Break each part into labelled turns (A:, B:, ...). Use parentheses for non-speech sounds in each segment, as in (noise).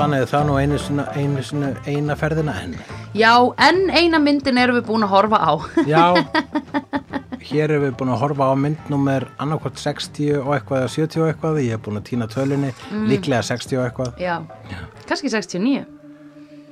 A: einu sinna, einu sinna, eina ferðina enn.
B: Já, en eina myndin erum við búin að horfa á. (laughs)
A: Já, hér erum við búin að horfa á myndnúmer annarkvæmt 60 og eitthvað eða 70 og eitthvað, ég er búin að týna tölunni,
B: Mm.
A: líklega 60 og eitthvað.
B: Já, kannski 69.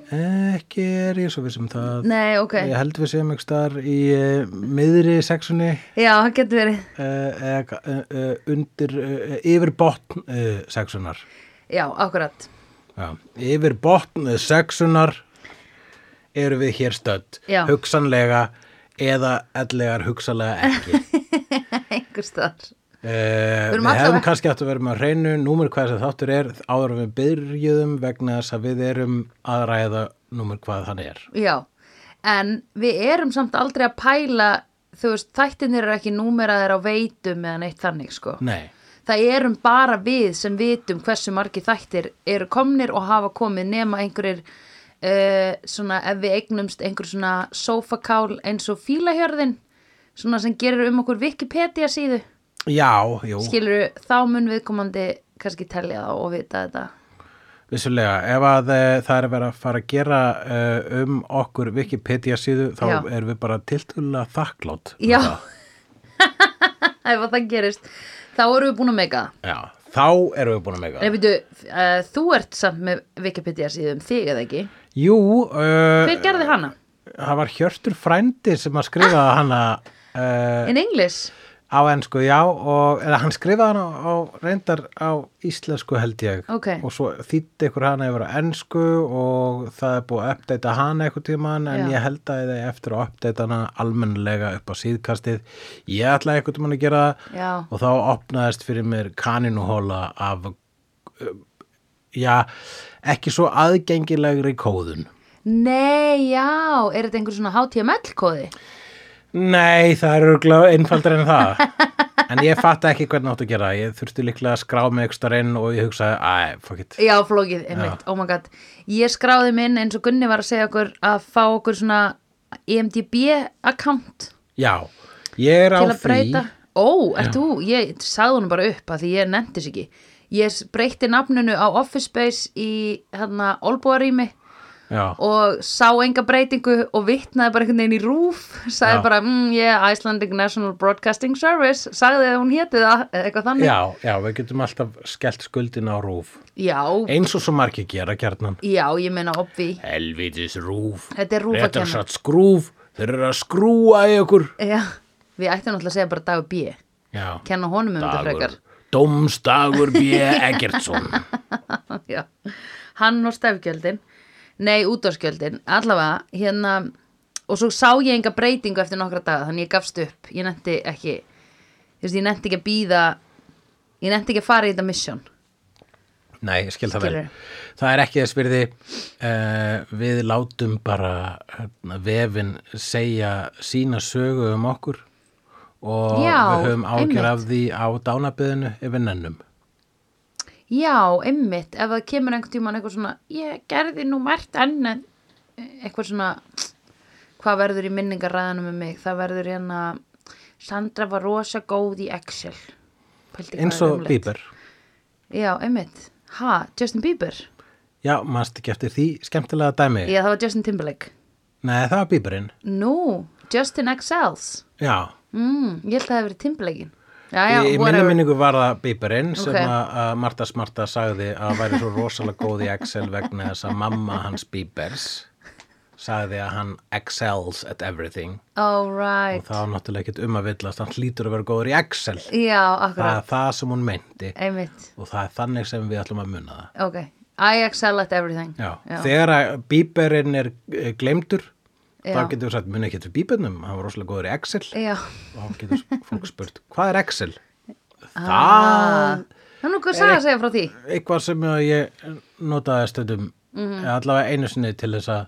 A: Ekki er ég svo viss um það.
B: Nei, ok.
A: Ég held við séum ykkur starf í uh, miðri sexunni,
B: Já, það getur verið.
A: uh, eða uh, uh, undir, uh, yfir botn uh, sexunar.
B: Já, akkurat. (laughs)
A: Já, yfir botn sexunar eru við hér stödd
B: Já.
A: hugsanlega eða ellegar hugsanlega
B: (laughs)
A: ekki
B: Einhver staðar.
A: Uh,
B: erum
A: við
B: allavega-
A: hefum kannski átt að vera með á hreinu númer hvað þess að þáttur er áður en við byrjuðum vegna þess að við erum að ræða númer hvað hann er
B: Já, en við erum samt aldrei að pæla, þú veist, þættinir eru ekki númeraðir á veitum eða neitt þannig, sko.
A: Nei,
B: Það erum bara við sem vitum hversu margi þættir eru komnir og hafa komið nema einhverjir, uh, svona, ef við eignumst einhver svona sofakál eins og fílahjörðin, svona sem gerir um okkur Wikipedia síðu,
A: já, jú,
B: skilur þá mun viðkomandi kannski telja það og vita þetta.
A: vissulega ef að uh, það er verið að fara að gera uh, um okkur Wikipedia síðu þá
B: Já.
A: erum við bara tiltölulega þakklátt fyrir
B: Já,
A: það.
B: (laughs) ef að það gerist, þá erum við búin að meika það.
A: já, þá erum við búin að mega
B: Nei, veitu, uh, þú ert samt með Wikipedia síðum þig eða ekki.
A: Jú, uh,
B: Hver gerði hana?
A: það var Hjörtur frændi sem að skrifaði hana uh,
B: In English?
A: á ennsku, já og, eða hann skrifaði hana á, á reyndar á íslensku held ég
B: Ok.
A: og svo þýtti ykkur hana yfir á ennsku og það er búið að uppdata hana eitthvað tíman en
B: Já.
A: ég held að það er eftir að uppdata hana almennilega upp á síðkastið ég ætlaði eitthvað tíman að gera það
B: Já.
A: og þá opnaðist fyrir mér kaninuhóla af uh, já, ekki svo aðgengilegri kóðun
B: Nei, já, er þetta einhver svona HTML-kóði?
A: Nei, það er örgulega einfaldar en það. (laughs) En ég fatt ekki hvernig áttu að gera. það. Ég þurfti líklega að skrá mig ekstar inn og ég hugsaði, æ, fuck it.
B: Já, flókið, einmitt, oh my god. Ég skráði minn eins og Gunni var að segja okkur að fá okkur svona E IMDB-account
A: Já, ég er á
B: til að
A: því.
B: breyta. Ó, ert þú? Ég sagði hún bara upp að því ég nefndi sér ekki. Ég s- breytti nafninu á Office Space í hérna Olbúarými
A: Já,
B: og sá enga breytingu og vittnaði bara einhvern veginn í rúf sagði
A: Já.
B: bara, mm, yeah, Icelandic National Broadcasting Service sagði að hún héti það eða eitthvað þannig
A: já, já, við getum alltaf skellt skuldin á rúf.
B: já,
A: Eins og svo margir gera kjarnan.
B: já, ég meina obvi
A: Helvitis rúf.
B: Þetta er RÚV að
A: Réttar
B: kenna.
A: satt skrúf. Þeir eru að skrúa í okkur.
B: já, við ættum náttúrulega að segja bara dagur B
A: Já,
B: kenna honum um þetta
A: dagur.
B: frekar
A: (laughs) Dómstagur B. Eggertsson.
B: (laughs) já. hann og stefgjöldin nei, útdórskjöldin, allavega hérna, og svo sá ég enga breytingu eftir nokkra daga, þannig ég gafst upp ég nefndi ekki þú veist, ég nefndi ekki að býða ég nefndi ekki að fara í þetta mission
A: Nei, ég skil það vel.
B: Skilurðu?
A: Það er ekki þess virði, uh, við látum bara hérna, vefin segja sína sögu um okkur og
B: Já,
A: við höfum ágjör
B: einmitt.
A: af því á dánabyðinu yfir nennum.
B: Já, einmitt, ef það kemur einhvern tímann eitthvað svona, ég gerði nú margt enn en eitthvað svona hvað verður í minningarræðanum með mig, það verður hérna Sandra var rosa góð í Excel Pældi hvað
A: Eins
B: er
A: og
B: ömurlegt.
A: Bieber.
B: Já, einmitt, ha, Justin Bieber
A: Já, mannst ekki eftir því skemmtilega dæmi.
B: Já, það var Justin Timberlake
A: Nei, það var Bieberinn.
B: Nú, Justin Excels
A: Já,
B: mm, Ég held að það hefur verið Timberlakein Já, já,
A: í, í minni
B: whatever.
A: minningu var það Bieberinn sem
B: Ok.
A: að, að Marta Smarta sagði að væri svo rosalega góð í Excel vegna þess að mamma hans Biebers sagði að hann excels at everything.
B: All right
A: og það var náttúrulega ekkert um að villast hann hlýtur að vera góður í Excel
B: Já,
A: það
B: akkurat,
A: er það sem hún meinti
B: einmitt
A: og það er þannig sem við ætlum að muna það
B: Ok, I excel at everything
A: Já. þegar að bíberinn er eh, gleymdur
B: Já.
A: þá
B: Eh.
A: getur við sagt muni ekki eftir bíbernum hann var rosalega góður í Excel
B: Já
A: og þá getur fólk spurt hvað er Excel?
B: Ah.
A: það
B: Það er nú hvað saga að segja frá því.
A: eitthvað sem að ég notaði stöðum
B: Mhm.
A: eða allavega einu sinni til þess að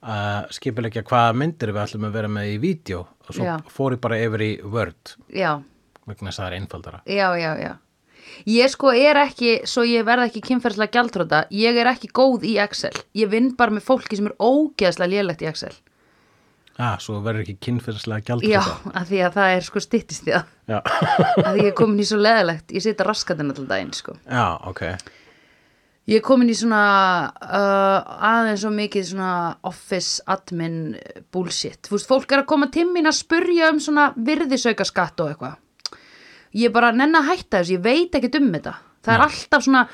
A: að skipilegja hvaða myndir við ætlum að vera með í vídeo og svo
B: Já.
A: fór ég bara yfir í Word
B: Já,
A: vegna þess að það er einfaldara
B: já, já, já. Ég sko er ekki, svo ég verð ekki kynferðslega gjaldróta, ég er ekki góð í Excel. Ég vinn bara með fólki sem er ógeðslega lélegt í Excel.
A: Já, Ah, svo verður ekki kynferðslega gjaldur
B: Já, af því að það er sko styttist í það.
A: Já. (laughs)
B: Af því ég er komin í svo leðilegt, ég sita raskatinn alltaf daginn, sko.
A: Já, ok.
B: Ég er komin í svona uh, aðeins og mikið svona office admin bullshit. Þú veist, fólk er að koma til mín að spurja um svona virðisauka skatt og eitthvað. Ég er bara nenni að hætta þessu, ég veit ekkert um þetta. Það er alltaf svona,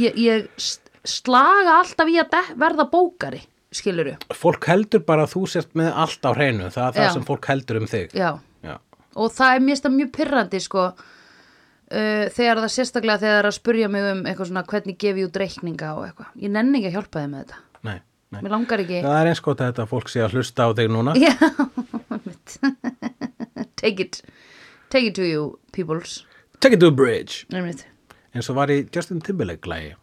B: ég, ég s- slaga alltaf í að de- verða bókari, skiluru.
A: Fólk heldur bara að þú sért með allt á hreinu, það er það
B: Já.
A: sem fólk heldur um þig.
B: Já.
A: Já.
B: og það er mér stað mjög pyrrandi sko uh, þegar það sérstaklega þegar það er að spurja mig um eitthvað svona hvernig gef ég út reikninga og eitthvað ég nenni ekki að hjálpa þeim með þetta
A: Nei, nei.
B: mér langar ekki
A: Það er eins gott að þetta fólk sé að hlusta á þig núna.
B: Já, einmitt. take it take it to you peoples
A: Take it to a bridge.
B: Einmitt.
A: Eins og var í Justin Timberlake lægi.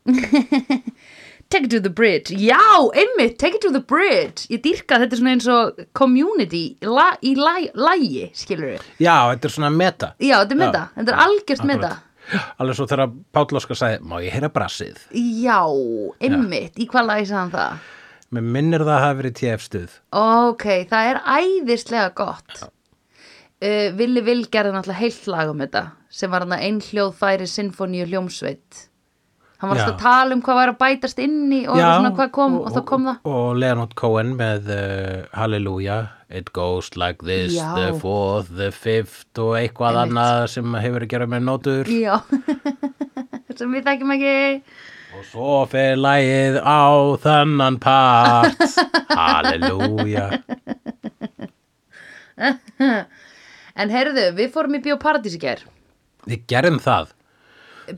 B: take it to the bridge, já, einmitt take it to the bridge, ég dýrka þetta er svona eins og community la, í lægi, la, skilur við
A: Já, þetta er svona meta.
B: já, þetta er með
A: Já.
B: það, þetta er algjört með það
A: Alveg svo þegar Páll Óskar sagði, má ég heyra brassið?
B: já, einmitt, í hvað lagi sagði hann það?
A: Mér minnir það að hafa verið TF-stuð.
B: Ok, það er æðislega gott. Uh, Vili Vil gerði náttúrulega heilt lag um þetta sem var hann að einhljóðfæri sinfoníu hljómsveit. Hann var
A: Já.
B: alltaf að tala um hvað var að bætast inni og svona hvað kom og, þá kom það.
A: Og Leonard Cohen með uh, Hallelujah, It Goes Like This,
B: Já.
A: The Fourth, The Fifth og eitthvað
B: Einmitt.
A: annað sem hefur að gera með nótur.
B: Já, (laughs) sem við þekkjum ekki.
A: Og svo fer lagið á þannan
B: (laughs)
A: part. Hallelujah.
B: En heyrðu, við fórum í Bíó Paradís í ger.
A: Við gerum það.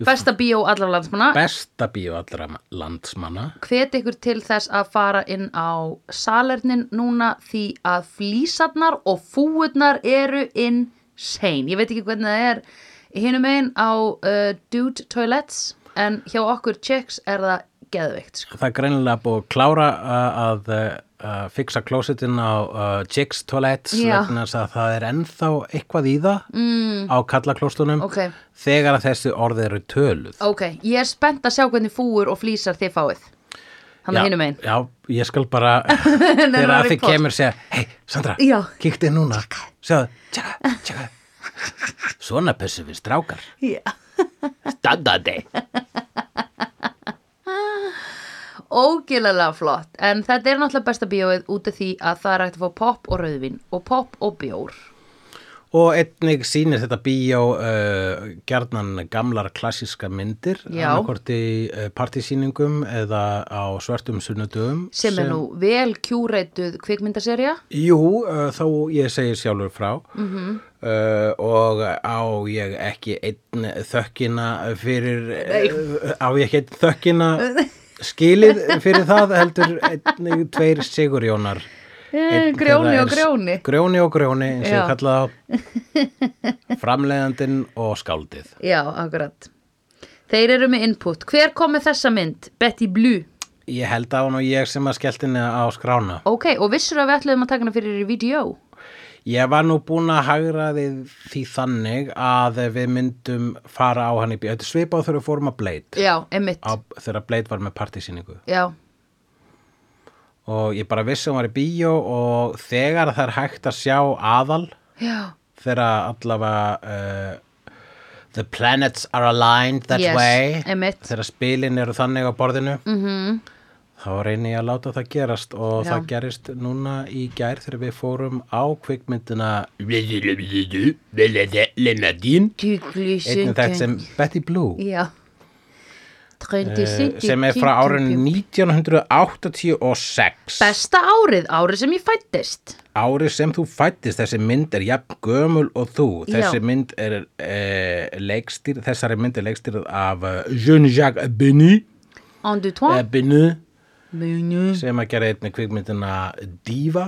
B: Besta bíó allar landsmanna.
A: Besta bíó allra landsmanna.
B: hvet ykkur til þess að fara inn á salernin núna því að flísarnar og fúurnar eru insane. Ég veit ekki hvernig það er hinum einn á uh, dude toilets en hjá okkur chicks er það geðveikt. sko.
A: Það er greinilega búið að klára uh, að uh, fixa klósetin á uh, chicks toilets
B: Já.
A: vegna þess að það er ennþá eitthvað í það mm. á kallaklóstunum
B: Ok,
A: þegar að þessi orð eru töluð.
B: ok, ég er spennt að sjá hvernig fúur og flísar þið fáið. Hann er hinum (laughs) einn.
A: Já, ég skal bara,
B: (laughs)
A: þegar
B: að
A: að þið
B: report.
A: kemur segja, hei Sandra,
B: Já.
A: kíktu inn núna, sjáðu, tjaka,
B: (laughs)
A: tjaka. Svona pissu við strákar,
B: Já.
A: standandi.
B: Ógilalega flott, en þetta er náttúrulega besta bíóið út af því að það er hægt að fá popp og rauðvin og popp og bjór.
A: Og einnig sýnir þetta bíó uh, gerðnan gamlar klassíska myndir
B: Já.
A: annarkvort í uh, partysýningum eða á svörtum sunnudöfum
B: sem, er nú vel kjúreituð kvikmyndaserja
A: Jú, uh, þá ég segi sjálfur frá -hmm.
B: Mhm.
A: uh, og á ég ekki einn þökkina fyrir uh, á ég ekki einn þökkina
B: (laughs)
A: skilið fyrir það heldur einnig tveir sigurjónar Einn
B: Eh, Grjóni
A: þeirra
B: og
A: er-
B: Grjóni.
A: Grjóni og Grjóni, eins og
B: Já.
A: ég
B: (laughs)
A: kalla það framleiðandinn og skáldið
B: Já, akkurat Þeir eru með input Hver kom með þessa mynd? Betty Blue
A: Ég held að hún og ég sem að skellt henni á skrána.
B: Ok, og vissur að við ætluðum að taka hana fyrir í vídeo
A: Ég var nú búin að hagra þið því þannig að við myndum fara á hann í bíó. Þetta er svipað og þegar við fórum að Blade,
B: Já, einmitt
A: á, þegar Blade var með partysýningu.
B: Já,
A: Og ég bara vissi að hún var í bíó og þegar það er hægt að sjá aðal,
B: já,
A: þegar allavega uh, The planets are aligned that
B: Yes,
A: way,
B: einmitt.
A: þegar spilin eru þannig á borðinu, -hmm. þá reyni ég að láta það gerast og
B: Já.
A: það gerist núna í gær þegar við fórum á kvikmyndina Lenadín,
B: tjúkli
A: einnig þekkt sem Betty Blue
B: Já Tröndi
A: eh, sem er frá árun 1986
B: Besta árið, árið sem ég fættist
A: árið sem þú fættist, þessi mynd er jafn gömul og þú, þessi
B: Já.
A: mynd er e, leikstýr, þessari mynd er leikstýr af eh, Jean-Jacques Benu
B: Andu
A: eh,
B: tón
A: Benu
B: Munu
A: sem að gera einnig kvikmyndina Diva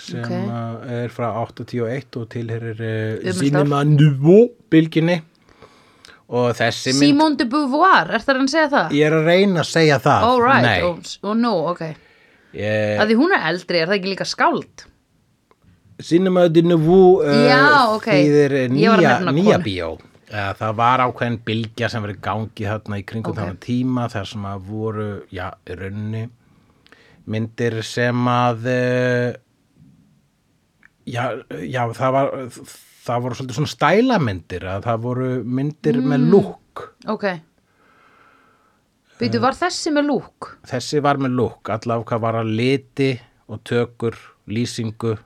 A: sem
B: Ok.
A: okay. er frá 81 og tilherir e,
B: Ömurstál.
A: Cinema Nouveau bylginni og þessi mynd,
B: Simone de Beauvoir, er það hann að segja það?
A: ég er að reyna að segja það
B: All
A: nei,
B: right, og oh, no, ok
A: ég,
B: að því hún er eldri, er það ekki líka skáld?
A: Cinema de Nouveau uh,
B: Já, ok.
A: þýðir eh,
B: Ég var að
A: nýja,
B: nefna
A: nýja
B: konu.
A: bíó. Uh, það var ákveðin bylgja sem verið gangi þarna í
B: Ok.
A: kringum okay. þarna tíma þar sem að voru, já, í rauninni myndir sem að uh, já, já, það var það voru svolítið svona
B: Mm.
A: stælamyndir að það voru myndir með lúk
B: Ok, Býtu, var þessi með lúk?
A: Þessi var með lúk, allavega hvað var að liti og tökur, lýsingu,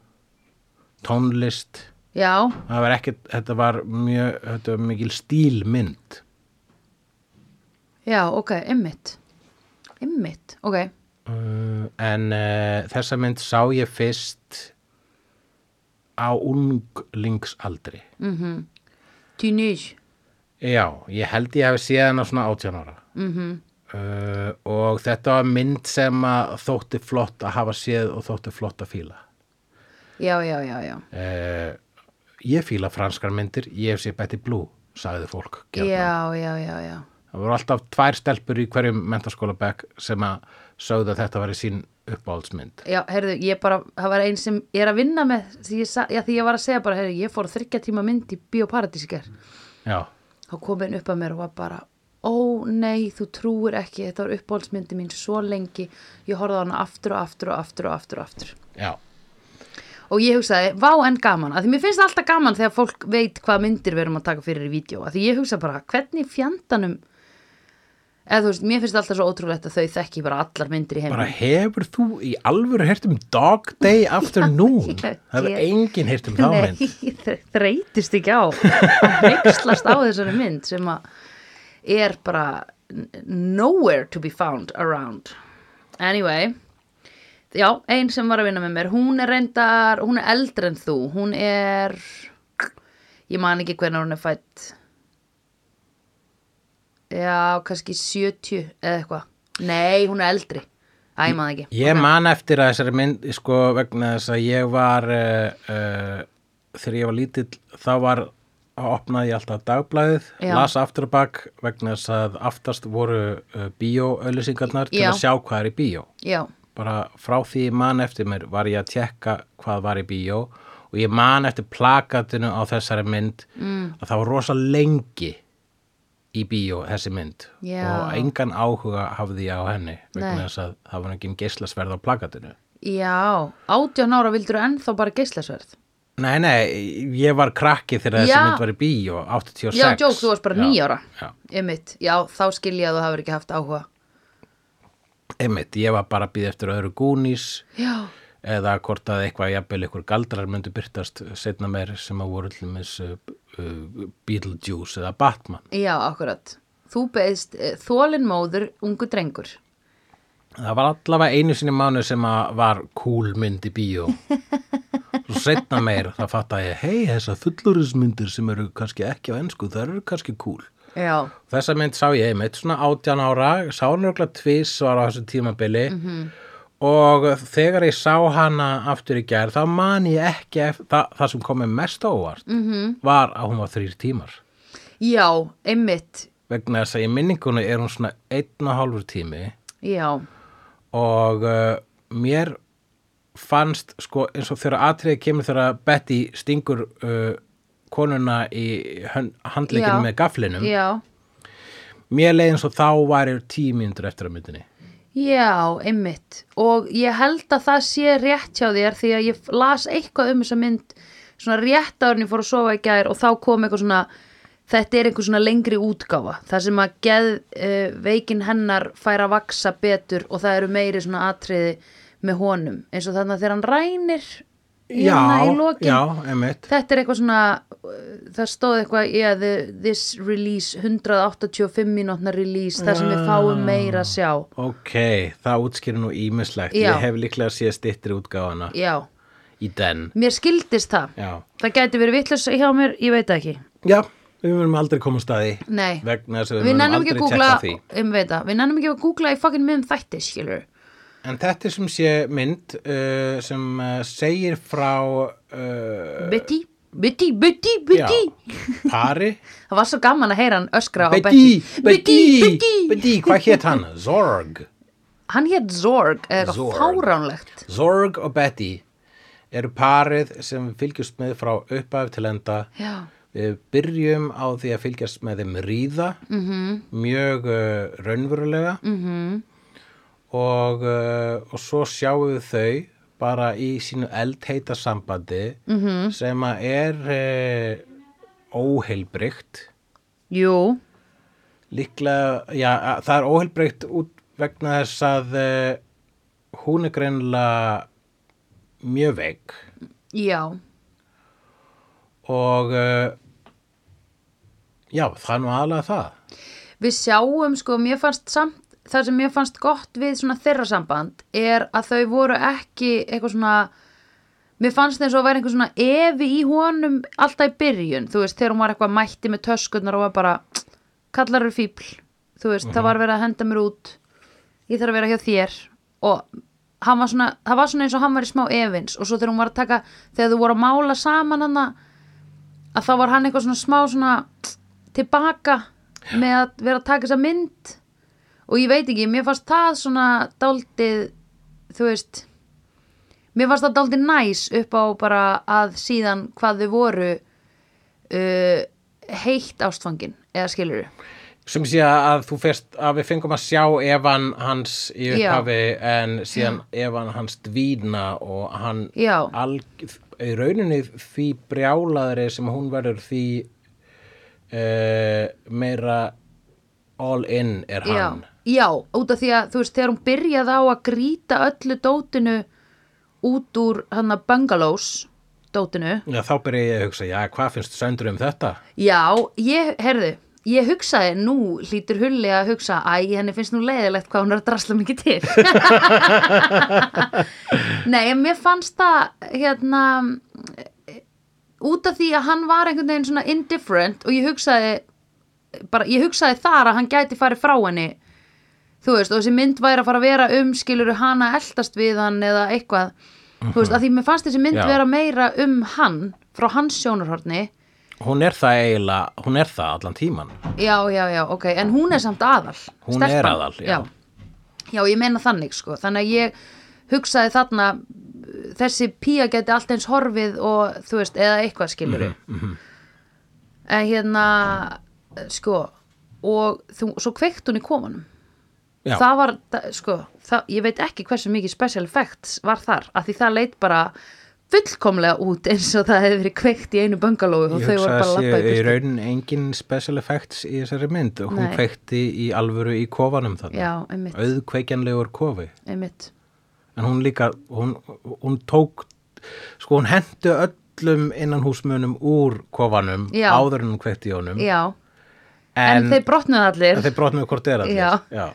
A: tónlist.
B: Já,
A: Það var ekkert, þetta var mjög, þetta var mikil stílmynd.
B: já, ok, ymmit. Ymmit, ok.
A: Uh, en uh, þessa mynd sá ég fyrst á unglingsaldri.
B: Teenage.
A: Já, ég held ég hef séð hana svona 18 ára. Mm uh, og þetta var mynd sem að þótti flott að hafa séð og þótti flott að fíla.
B: Já, já, já, já.
A: Uh, ég fíla franskar myndir, ég hef séð Betty Blue, sagði fólk. gjarnan.
B: Já, já, já, já.
A: Það voru alltaf tvær stelpur í hverjum mentaskóla bekk sem að sögðu að þetta var í sín uppáhaldsmynd.
B: Já, heyrðu, ég bara, það var einn sem ég er að vinna með, því ég, sa, já, því ég var að segja bara, heyrðu, ég fór þryggja tíma mynd í bioparadísikar.
A: Já,
B: Þá kom einn upp að mér og var bara, ó nei, þú trúir ekki, þetta var uppáhaldsmyndi mín svo lengi, ég horfði á hana aftur og aftur og aftur og aftur og aftur.
A: já,
B: Og ég hugsaði, vá en gaman, að því mér finnst alltaf gaman þegar fólk veit hvað myndir við erum að taka fyrir í vídeo, að því ég hugsa bara, hvernig fjandanum, eða þú veist, mér finnst alltaf svo ótrúlegt að þau þekki bara allar myndir í heim.
A: bara hefur þú í alvöru heyrt um Dog Day Afternoon?
B: Já, (laughs) ég-
A: Það hefur enginn heyrt um þá mynd.
B: Nei, (laughs) þre- þreytist ekki á að hreykslast á þessari mynd sem að er bara n- nowhere to be found around anyway já, ein sem var að vinna með mér hún er reyndar, hún er eldri en þú hún er ég man ekki hvernig hún er fætt já, kannski 70 eða eitthvað, nei, hún er eldri Æ, ég man það ekki
A: Ég man eftir að þessari mynd, sko, vegna þess að ég var, uh, uh, þegar ég var lítill, þá var, opnaði ég alltaf dagblæðið,
B: Já.
A: las aftur á bak, vegna þess að aftast voru uh, bíóauðlýsingarnar til
B: Já.
A: að sjá hvað er í bíó.
B: já,
A: bara frá því ég man eftir mér var ég að tjekka hvað var í bíó og ég man eftir plakatinu á þessari mynd mm. að það var rosa lengi í bíó þessi mynd
B: Já.
A: og engan áhuga hafði ég á henni
B: Nei.
A: vegna þess að það var engin geislasverð á plakatinu
B: já átján ára vildur ennþá bara geislasverð
A: Nei, nei, ég var krakki þegar þessi
B: Já.
A: mynd var í bíó 86
B: Já, djók, þú varst bara
A: Já,
B: nýjára
A: Já,
B: Einmitt, já, þá skil ég að þú hafur ekki haft áhuga
A: einmitt, ég var bara að býða eftir öðru gúnís
B: Já,
A: eða hvort að eitthvað jafnvel ykkur galdrar myndu byrtast setna meir sem að voru til með uh, Beetlejuice eða Batman
B: já, akkurat Þú beðst eh, þólin móður ungu drengur
A: það var allavega einu sinni mánu sem að var cool mynd í bíó svo setna meir það fatt að ég hei þessar fullurðismyndir sem eru kannski ekki á ennsku það eru kannski cool
B: Já,
A: þessa mynd sá ég einmitt svona 18 ára sá hann örgulega tvís var á þessu tímabili
B: Mhm.
A: og þegar ég sá hana aftur í gær þá man ég ekki eftir, það, það sem komið mest á óvart
B: Mhm.
A: -hmm. var að hún var þrýr tímar
B: já, einmitt
A: vegna þess að í minningunni er hún svona einn og hálfur tími
B: Já,
A: og uh, mér fannst sko eins og þegar atriði kemur þegar Betty stingur uh, konuna í handleikinu
B: Já.
A: með gaflinum
B: já
A: mér leið eins og þá væri tímyndur eftir að myndinni
B: Já, einmitt Og ég held að það sé rétt hjá þér Því að ég las eitthvað um þessa mynd Svona rétt áður en ég fór að sofa í gær Og þá kom eitthvað svona Þetta er einhver svona lengri útgáfa Það sem að geð uh, veikin hennar fær að vaksa betur Og það eru meiri svona atriði með honum Eins og þannig að þegar hann rænir hérna í lokin
A: já, einmitt
B: Þetta er eitthvað svona, uh, það stóð eitthvað, yeah, the, this release, 185 mínútna release, það sem við fáum meira að sjá.
A: Ok, það útskýrir nú ímislegt
B: Já.
A: Ég hef líklega séð styttri útgáfana
B: Já,
A: í den
B: mér skildist það.
A: Já,
B: Það gæti verið vittlust hjá mér, ég veit það ekki.
A: Já við munum aldrei koma að staði
B: Nei,
A: vegna þess að við,
B: við
A: munum
B: nennum ekki
A: aldrei
B: að googla,
A: tjekka því
B: um veit það, við nennum ekki að googla í fucking miðum þætti, skilur.
A: En þetta er sem sé mynd uh, sem uh, segir frá uh,
B: Betty, Betty, Betty, Betty.
A: já, pari
B: Það var svo gaman að heyra hann öskra á
A: Betty,
B: Betty. Betty, Betty.
A: Betty, hvað hétt hann? Zorg
B: Hann hétt Zorg, eða
A: Zorg.
B: eitthvað fáránlegt.
A: Zorg og Betty eru parið sem við fylgjumst með frá upphaf til enda
B: Já,
A: Við byrjum á því að fylgjast með þeim ríða, -hmm. mjög uh, raunverulega -hmm. og, uh, og svo sjáum við þau bara í sínu eldheita sambandi -hmm. sem að er uh, óheilbrygt
B: jú,
A: líklega, já, að- það er óheilbreykt út vegna þess að eh, hún er greinilega mjög veik
B: já,
A: og eh, já, það er nú aðlega það.
B: við sjáum sko, mér fannst samt það sem mér fannst gott við svona þeirra samband er að þau voru ekki eitthvað svona mér fannst eins og að vera einhver svona evi í honum alltaf í byrjun, þú veist, þegar hún var eitthvað mætti með töskurnar og var bara kallar er fíbl, þú veist, það var verið að henda mér út ég þarf að vera hjá þér og hann var svona, það var svona eins og hann var í smá evins og svo þegar hún var að taka, þegar þú voru að mála saman hann að þá var hann eitthvað svona smá svona tilbaka með að vera að taka þessa mynd og ég veit ekki, mér fannst það svona daldið, þú veist mér fannst það daldið næs upp á bara að síðan hvað þau voru uh, heitt ástfangin eða skilur
A: Sem sé að þú fyrst að við fengum að sjá evan hans í
B: Já.
A: upphafi en síðan evan hans dvína og hann
B: Já.
A: alg, í rauninni því brjálaðri sem hún verður því uh, meira all in er
B: já,
A: hann.
B: já, út af því að þú veist, þegar hún byrjaði á að grýta öllu dótinu út úr hann að bungalows dótinu,
A: Já, þá byrja ég að hugsa, já, hvað finnst söndur um þetta?
B: já, ég, herðu ég hugsaði, nú hlýtur hulli að hugsa æ, henni finnst nú leiðilegt hvað hún er að drasla mikið til (laughs) nei, en mér fannst það hérna út af því að hann var einhvern veginn svona indifferent og ég hugsaði bara, ég hugsaði þar að hann gæti farið frá henni þú veist, og þessi mynd væri að fara að vera um skiluru hana eldast við hann eða eitthvað, þú veist, að því mér fannst þessi mynd
A: Já.
B: vera meira um hann frá hans sjónarhorni
A: Hún er það eiginlega, hún er það allan tíman.
B: Já, já, já, ok, en hún er samt aðal
A: Hún
B: stelpan.
A: er aðal, já.
B: já Já, ég meina þannig, sko, þannig að ég hugsaði þarna þessi pía geti allt eins horfið og þú veist, eða eitthvað skilur
A: Mhm,
B: en hérna sko og þú, svo kveikt hún í komanum
A: Já.
B: það var, það- sko það, ég veit ekki hversu mikið special effects var þar, af því það leit bara fullkomlega út eins og það hefði verið kveikt í einu bungalowu og
A: Ég
B: þau voru
A: hugsa
B: bara að
A: að
B: labba í
A: sé í
B: burtu.
A: raunin engin special effects í þessari mynd. Hún
B: Nei.
A: kveikti í alvöru í kofanum þannig.
B: Já, einmitt,
A: Auðkveikjanlegur kofi.
B: einmitt
A: En hún líka, hún, hún tók, sko hún hendu öllum innan húsmunum úr kofanum
B: Já.
A: áður en hún kveikti í honum.
B: Já, en,
A: En,
B: þeir brotnuðu allir
A: en þeir brotnuðu hvort er allir.
B: Já.
A: Já.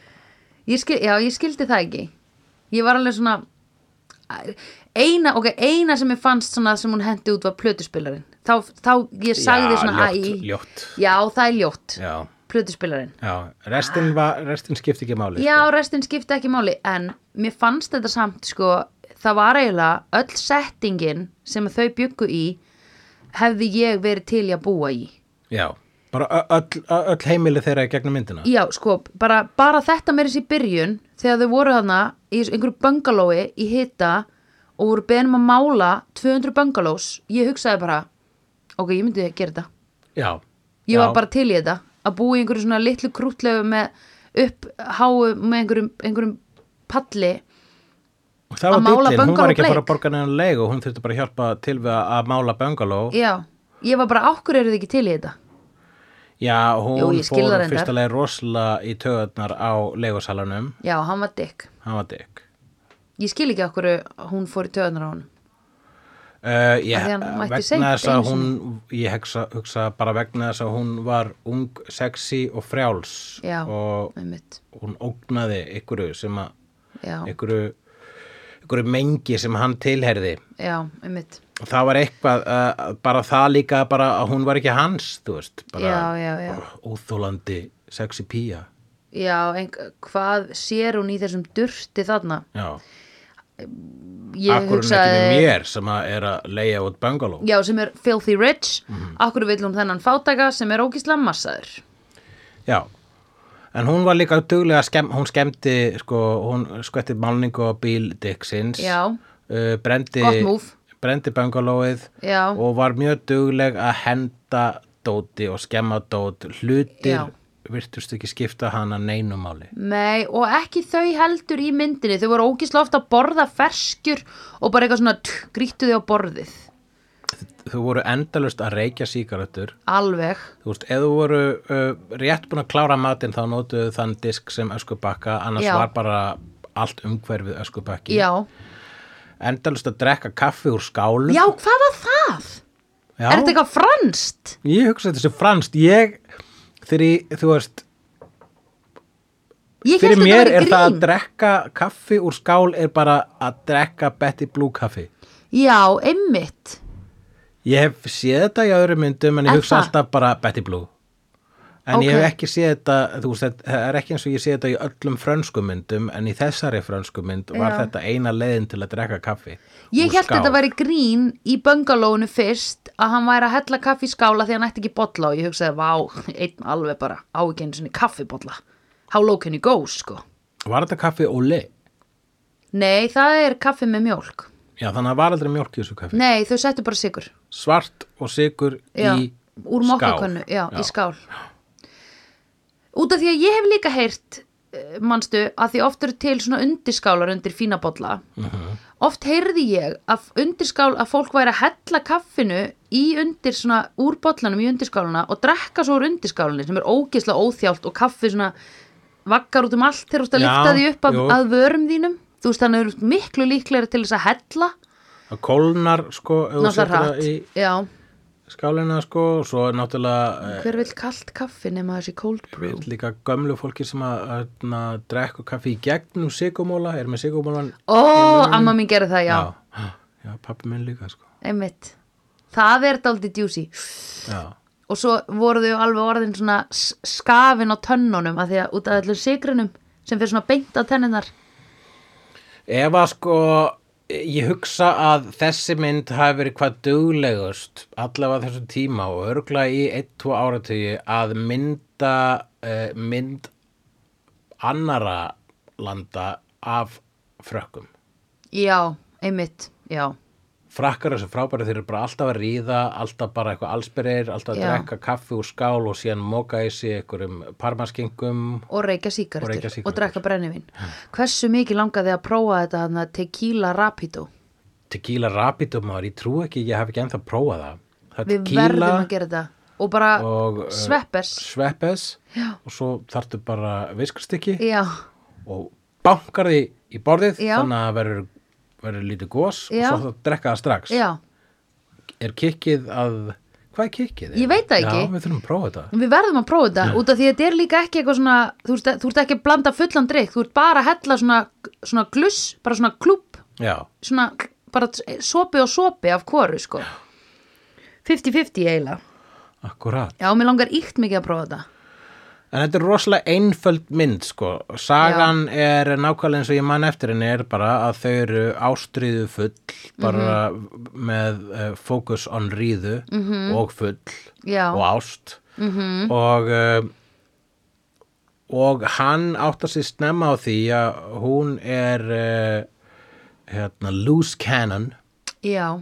B: ég skil, Já, ég skildi það ekki Ég var alveg svona Eina, ok, eina sem ég fannst svona sem hún hendi út var plötuspilarinn Þá, þá ég sagði
A: Já,
B: svona
A: ljótt,
B: æ,
A: ljótt.
B: Já, það er ljótt,
A: Já,
B: plötuspilarinn
A: já. Restin, var, restin skipti ekki máli. sko.
B: Já, restin skipti ekki máli En mér fannst þetta samt, sko Það var eiginlega öll settingin sem þau byggu í hefði ég verið til í að búa í
A: Já, bara ö- öll, ö- öll heimili þeirra í gegnum myndina.
B: Já, sko, bara, bara þetta meira sér í byrjun þegar þau voru þarna í þessu- einhverju bungalói í hita og voru beðnum að mála 200 bungalós, ég hugsaði bara ok, ég myndi að gera þetta
A: Já.
B: ég
A: já,
B: var bara til í þetta að búa í einhverju svona litlu krútlegu með uppháu með einhverjum, einhverjum palli
A: Það
B: að
A: var
B: mála
A: dýllinn, hún var
B: bungalow
A: ekki að fara að
B: bleik.
A: borga neðan leik og hún þurfti bara að hjálpa til við að- að mála bungalow.
B: já, ég var bara, okkur eru þið ekki til í þetta
A: Já, hún
B: Jú, ég skil það
A: fór
B: reyndar.
A: fyrsta leið rosalega í töðarnar á leigusalanum.
B: já, hann var dykk,
A: Hann var dykk.
B: ég skil ekki okkur hún fór í töðunar á hann
A: Uh,
B: Af
A: ég,
B: því hann mætti seint
A: vegna þess að
B: einu
A: hún, ég hugsa, hugsa bara vegna þess að hún var ung, sexy og frjáls
B: Já.
A: og
B: einmitt,
A: hún ógnaði ykkur sem að,
B: já,
A: ykkur, ykkur mengi sem hann tilherði.
B: já, einmitt
A: það var eitthvað uh, bara það líka bara að hún var ekki hans þú veist, bara
B: Já, já, já.
A: óþólandi sexy pía
B: Já, en hvað sér hún í þessum durti þarna?
A: já,
B: Ég
A: akkur hún ekki með mér sem að er að leia út bengaló
B: Já, sem er filthy rich,
A: Mhm.
B: akkur vill hún þennan fátaka sem er ógísla massaður.
A: já, en hún var líka duglega, skemm, hún skemmti sko, hún skvetti málningu á bíl Dixins
B: Já.
A: uh, brendi,
B: Gott múf.
A: brendi bengalóið
B: Já.
A: og var mjög dugleg að henda dóti og skemma dót hlutir
B: Já.
A: virtust ekki skipta hana neinumáli
B: Nei, og ekki þau heldur í myndinni, þau voru ógísla ofta að borða ferskjur og bara eitthvað svona tch, grýttu þau á borðið.
A: þau voru endalust að reykja sígarettur
B: alveg
A: þú veist, ef þú voru uh, rétt búin að klára matinn þá notuðu þann disk sem öskubakka annars
B: Já.
A: var bara allt umhverfið öskubakki
B: já,
A: endalust að drekka kaffi úr skálum
B: já hvað var það?
A: Já.
B: er þetta eitthvað franskt?
A: ég hugsa þetta sem franst ég, þegar ég, þú veist
B: Ég hélt
A: fyrir
B: þetta
A: mér
B: væri
A: er það að
B: grín.
A: drekka kaffi úr skál er bara að drekka Betty Blue kaffi
B: já, einmitt
A: ég hef séð þetta í öðrum myndum en ég
B: Er
A: hugsa
B: það?
A: alltaf bara Betty Blue en ég
B: Ókei.
A: hef ekki séð þetta þú veist, þetta- það er ekki eins og ég séð þetta í öllum frönsku myndum en í þessari frönsku mynd var
B: Já.
A: þetta eina leiðin til að drekka kaffi
B: Ég
A: úr
B: held
A: skál.
B: þetta væri grín í böngalónu fyrst að hann væri að hella kaffi í skála því hann ætti ekki bolla og ég hugsaði, vá, einn alveg bara á ekki einu sinni kaffibolla. How low can you go, sko?
A: var þetta kaffi óli?
B: Nei, það er kaffi með mjólk.
A: já þannig að það var aldrei mjólk í þessu kaffi
B: Nei, þau settu bara sigur.
A: svart og sigur
B: Já,
A: í
B: úr mokkakönnu, já, í skál. Út af því að ég hef líka heyrt, eh, manstu, að því oft eru til svona undirskálar undir fína bolla.
A: Uh-huh.
B: Oft heyrði ég að undirskál að fólk væri að hella kaffinu í undir svona úr bollanum í undirskáluna og drekka svo úr undirskálinni sem er ógeðslega óþjált og kaffi svona vaggar út um allt þegar þú ert að
A: Já,
B: lyfta því upp að,
A: jú.
B: að vörum þínum. Þú veist, þannig eru miklu líklega til þess að hella,
A: að kólnar sko ef þú setur
B: náttúrulega
A: það
B: hratt.
A: í
B: Já.
A: skálina sko og svo er náttúrulega
B: Hver vill kallt kaffi nema þessi cold brew?
A: Við líka gömlu fólki sem að, að, að drekku kaffi í gegnum sigumóla, er með sigumólan
B: Ó, amma mín gerði það, já,
A: já, já pappi minn líka sko.
B: einmitt. Það er daldið djúsi.
A: já.
B: Og svo voru þau alveg orðin svona s- skafin á tönnunum að því að út af allir sigrinum sem fyrir svona beint á tenninar.
A: Ef að sko ég hugsa að þessi mynd hafi verið hvað duglegust allavega á þessum tíma og örgla í 1-2 áratugi að mynda uh, mynd annara landa af frökkum
B: Já, einmitt, já.
A: frakkar þessu frábæri, þeir eru bara alltaf að ríða alltaf bara eitthvað allsbyrir, alltaf að
B: Já.
A: drekka kaffi úr skál og síðan móka í sig einhverjum parmaskingum
B: Og reykja sígarettur
A: Og reykja
B: og,
A: sígarettur.
B: drekka brennivinn. Hversu mikið langaði að prófa þetta hann tequila rapido?
A: tequila rapido maður, ég trú ekki, ég hef ekki ennþá prófað það það er
B: Við verðum að gera þetta. Og bara
A: og uh,
B: sveppers.
A: sveppes og svo þarftu bara viskustykki
B: Já,
A: og bankar því í borðið
B: Já.
A: þannig að það verður, verður lítið gos
B: Já.
A: og svo það drekka það strax
B: já.
A: er kikkið að, hvað er kikkið?
B: Ég veit það ekki.
A: Já, við þurfum að prófa þetta
B: Við verðum að prófa þetta út af því að þetta er líka ekki eitthvað svona, þú ert, e- þú ert ekki að blanda fullan drikk, þú ert bara að hella svona, svona gluss, bara svona klúpp,
A: Já,
B: svona bara sopi og sopi af hvoru sko. 50-50 eiginlega.
A: akkurat
B: Já, mér langar íkt mikið að prófa þetta.
A: En þetta er rosalega einföld mynd sko. Sagan er nákvæmlega eins og ég man eftir henni er bara að þau eru ástriðu full bara með uh, fókus on ríðu og full
B: Já.
A: og ást -hmm. og uh, og hann áttar sér snemma á því að hún er uh, hérna, loose cannon
B: Já,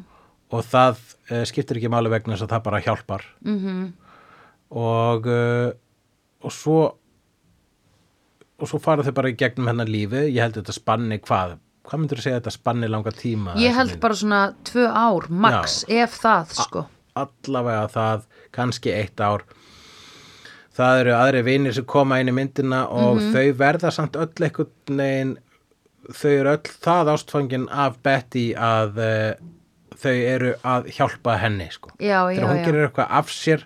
A: og það uh, skiptir ekki máli vegna þess að það bara hjálpar mm
B: Mhm.
A: -hmm. og uh, og svo og svo fara þau bara í gegnum hennar lífi ég held þetta spanni hvað hvað myndur þú segja þetta spanni langa tíma þessi
B: ég held
A: mynd?
B: bara svona tvö ár, max, ef
A: Ah.
B: það sko.
A: allavega það kannski eitt ár það eru aðri vinir sem koma inn í myndina og
B: Mhm.
A: þau verða samt öll einhvern veginn þau eru öll það ástfangin af Betty að uh, þau eru að hjálpa henni sko.
B: Já, já,
A: þegar hún
B: já.
A: gerir eitthvað af sér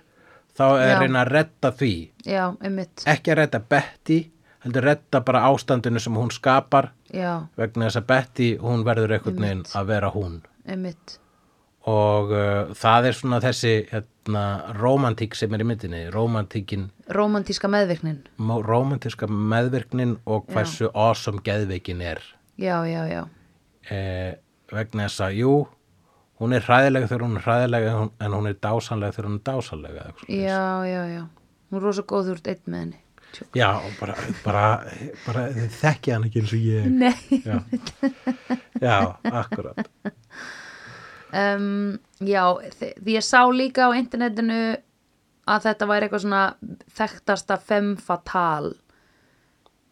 A: þá er
B: Já.
A: reyna að redda því
B: Já, einmitt.
A: ekki að redda Betty heldur redda bara ástandinu sem hún skapar
B: Já,
A: vegna þess að Betty hún verður einhvern veginn að vera hún
B: einmitt.
A: og uh, það er svona þessi hérna, romantík sem er í myndinni romantíkin,
B: Rómantíska meðvirknin.
A: mo- romantíska meðvirknin og hversu awesome geðveikin er
B: Já, já, já.
A: eh, vegna þess að jú hún er hræðilega þegar hún er hræðilega en hún- en hún er dásanlega þegar hún er dásanlega eða eitthvað svoleiðis.
B: Já, já, já. Hún er rosa góð úr eitt með henni. Tjú.
A: já, og bara, bara, bara þið þekki hann ekki eins og ég
B: Nei. (laughs)
A: já, já akkurat
B: um, já, þi- því ég sá líka á internetinu að þetta væri eitthvað svona þekktasta femme fatale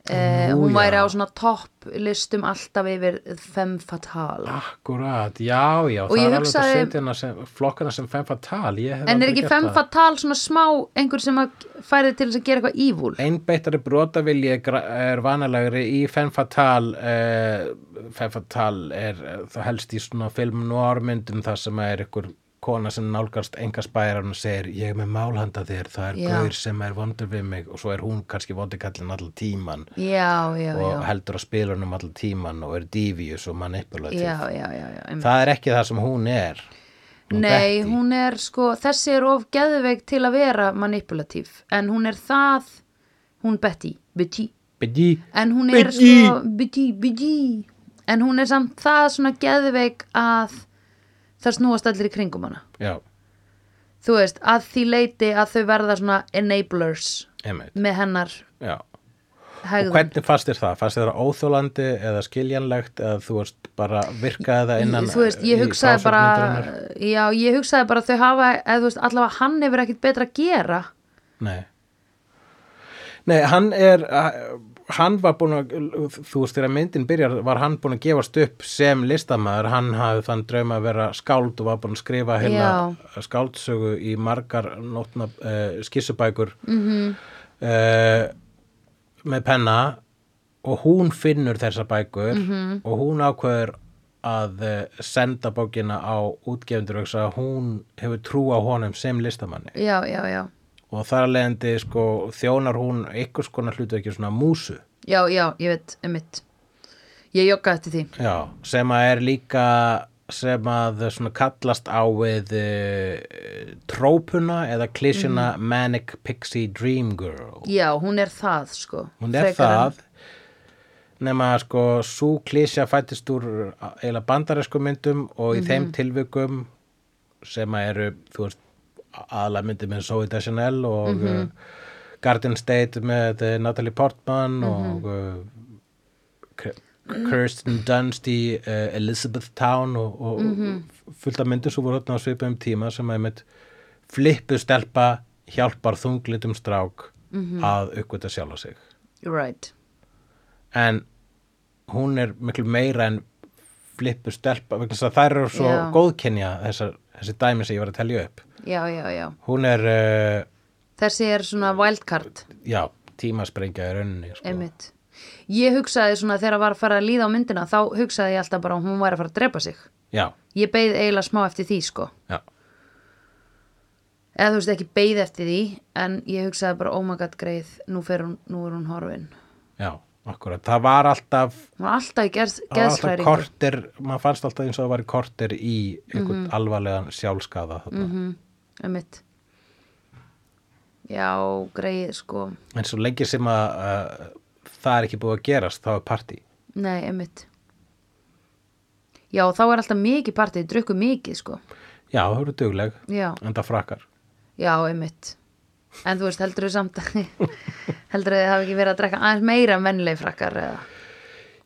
B: Uh, hún
A: Nú,
B: væri
A: já.
B: á svona topp listum alltaf yfir femme fatale
A: Akkurát, já, já,
B: ég
A: það er alveg að
B: hugsaði-
A: setja hana sem, flokkana sem femme fatale, ég hef
B: en er
A: aldrei
B: ekki
A: gert
B: femme
A: það.
B: fatale svona smá einhver sem að færi til þess að gera eitthvað ívúl
A: Einbeittari brotavilji er gra- er vanalegri í femme fatale, eh, femme fatale er eh, þá helst í svona film noirmyndum þar sem er ykkur kona sem nálgast enga spæran og segir ég er með málhanda þér, það er
B: Já.
A: gaur sem er vondur við mig og svo er hún kannski vondikallin allan tíman
B: já, já,
A: og
B: já
A: heldur að spila hann um allan tíman og er divíus og manipulativ
B: já, já, já, já einmitt.
A: það er ekki það sem hún er Hún
B: Nei,
A: Betty.
B: hún er sko, þessi er of geðveik til að vera manipulatív en hún er það, hún Betty, Betty,
A: Biddy.
B: en hún er
A: Betty.
B: svo, Betty, Betty, en hún er samt það svona geðveik að það snúast allir í kringum hana.
A: já,
B: Þú veist, að því leiti að þau verða svona enablers
A: einmitt
B: með hennar
A: já. Og
B: hegðum.
A: hvernig fannst þér það? Fannst þér það óþólandi eða skiljanlegt eða þú veist bara virkaði það innan
B: þú veist, ég
A: í
B: hugsaði bara
A: frásögnindarinnar?
B: já, ég hugsaði bara að þau hafa eða þú veist, allavega hann hefur ekkit betra að gera
A: Nei. Nei, hann er hann var búin að þú veist þegar myndin byrjar var hann búin að gefast upp sem listamaður hann hafði þann drauma að vera skáld og var búin að skrifa hérna skáldsögu í margar nótna uh, skissubækur mm -hmm. með penna og hún finnur þessar bækur -hmm. og hún ákveður að eh, senda bókina á útgefundur vegna þess að hún hefur trú á honum sem listamanni
B: já, já, já,
A: og þar að leiðandi sko, þjónar hún einhvers konar hlutu ekki svona músu
B: já, já, ég veit, emitt ég jogga eftir því
A: já, sem að er líka sem að svona kallast á við uh, trópuna eða klísjuna Manic Pixie Dream Girl
B: já, hún er það, sko
A: hún er
B: Frekar en-
A: það nema að sko svo klísja fættist úr eila bandaræsku myndum og
B: Mhm.
A: í þeim tilvikum sem að eru þú veist aðla myndi með Zoe Deschanel og
B: Mhm.
A: mm Garden State með eh, Natalie Portman
B: Mhm.
A: og uh, K- Kirsten Dunst í uh, Elizabeth Town og, og mm
B: Mhm.
A: fullt af myndir svo voru þarna á svipum tíma sem að einmitt flippu stelpa hjálpar þunglitum strák
B: Mhm.
A: að uppgöta sjálfa sig
B: right,
A: en hún er miklu meira en flippu stelpa vegna þess að þær eru svo
B: Já.
A: góðkenja þessar, þessi dæmi sem ég var að telja upp
B: já, já, já
A: hún er, uh,
B: þessi er svona wildcard
A: já, tímasprengja í rauninni sko.
B: emitt ég hugsaði svona þegar var að fara að líða á myndina þá hugsaði ég alltaf bara að hún væri að fara að drepa sig
A: já,
B: ég beið eiginlega smá eftir því, sko
A: já,
B: eða þú veist ekki beið eftir því en ég hugsaði bara oh my god greið nú, fer hún, nú er hún horfin
A: já, akkurat það var alltaf
B: hún var alltaf í gerð,
A: það var alltaf
B: geðsræringu
A: korter, maður fannst alltaf eins og það var korter í einhvern
B: Mhm.
A: alvarlegan sjálfskaða þarna.
B: um mitt já greið sko
A: en svo lengi sem að uh, það er ekki búið að gerast þá er partí
B: nei um mitt já þá er alltaf mikið partið drukku mikið sko
A: já, það eru dugleg,
B: já,
A: en það frakkar
B: já um mitt en þú veist heldur þau samt að (laughs) heldur þau hafi ekki verið að drekka aðeins meira en vennilegi frakkar eða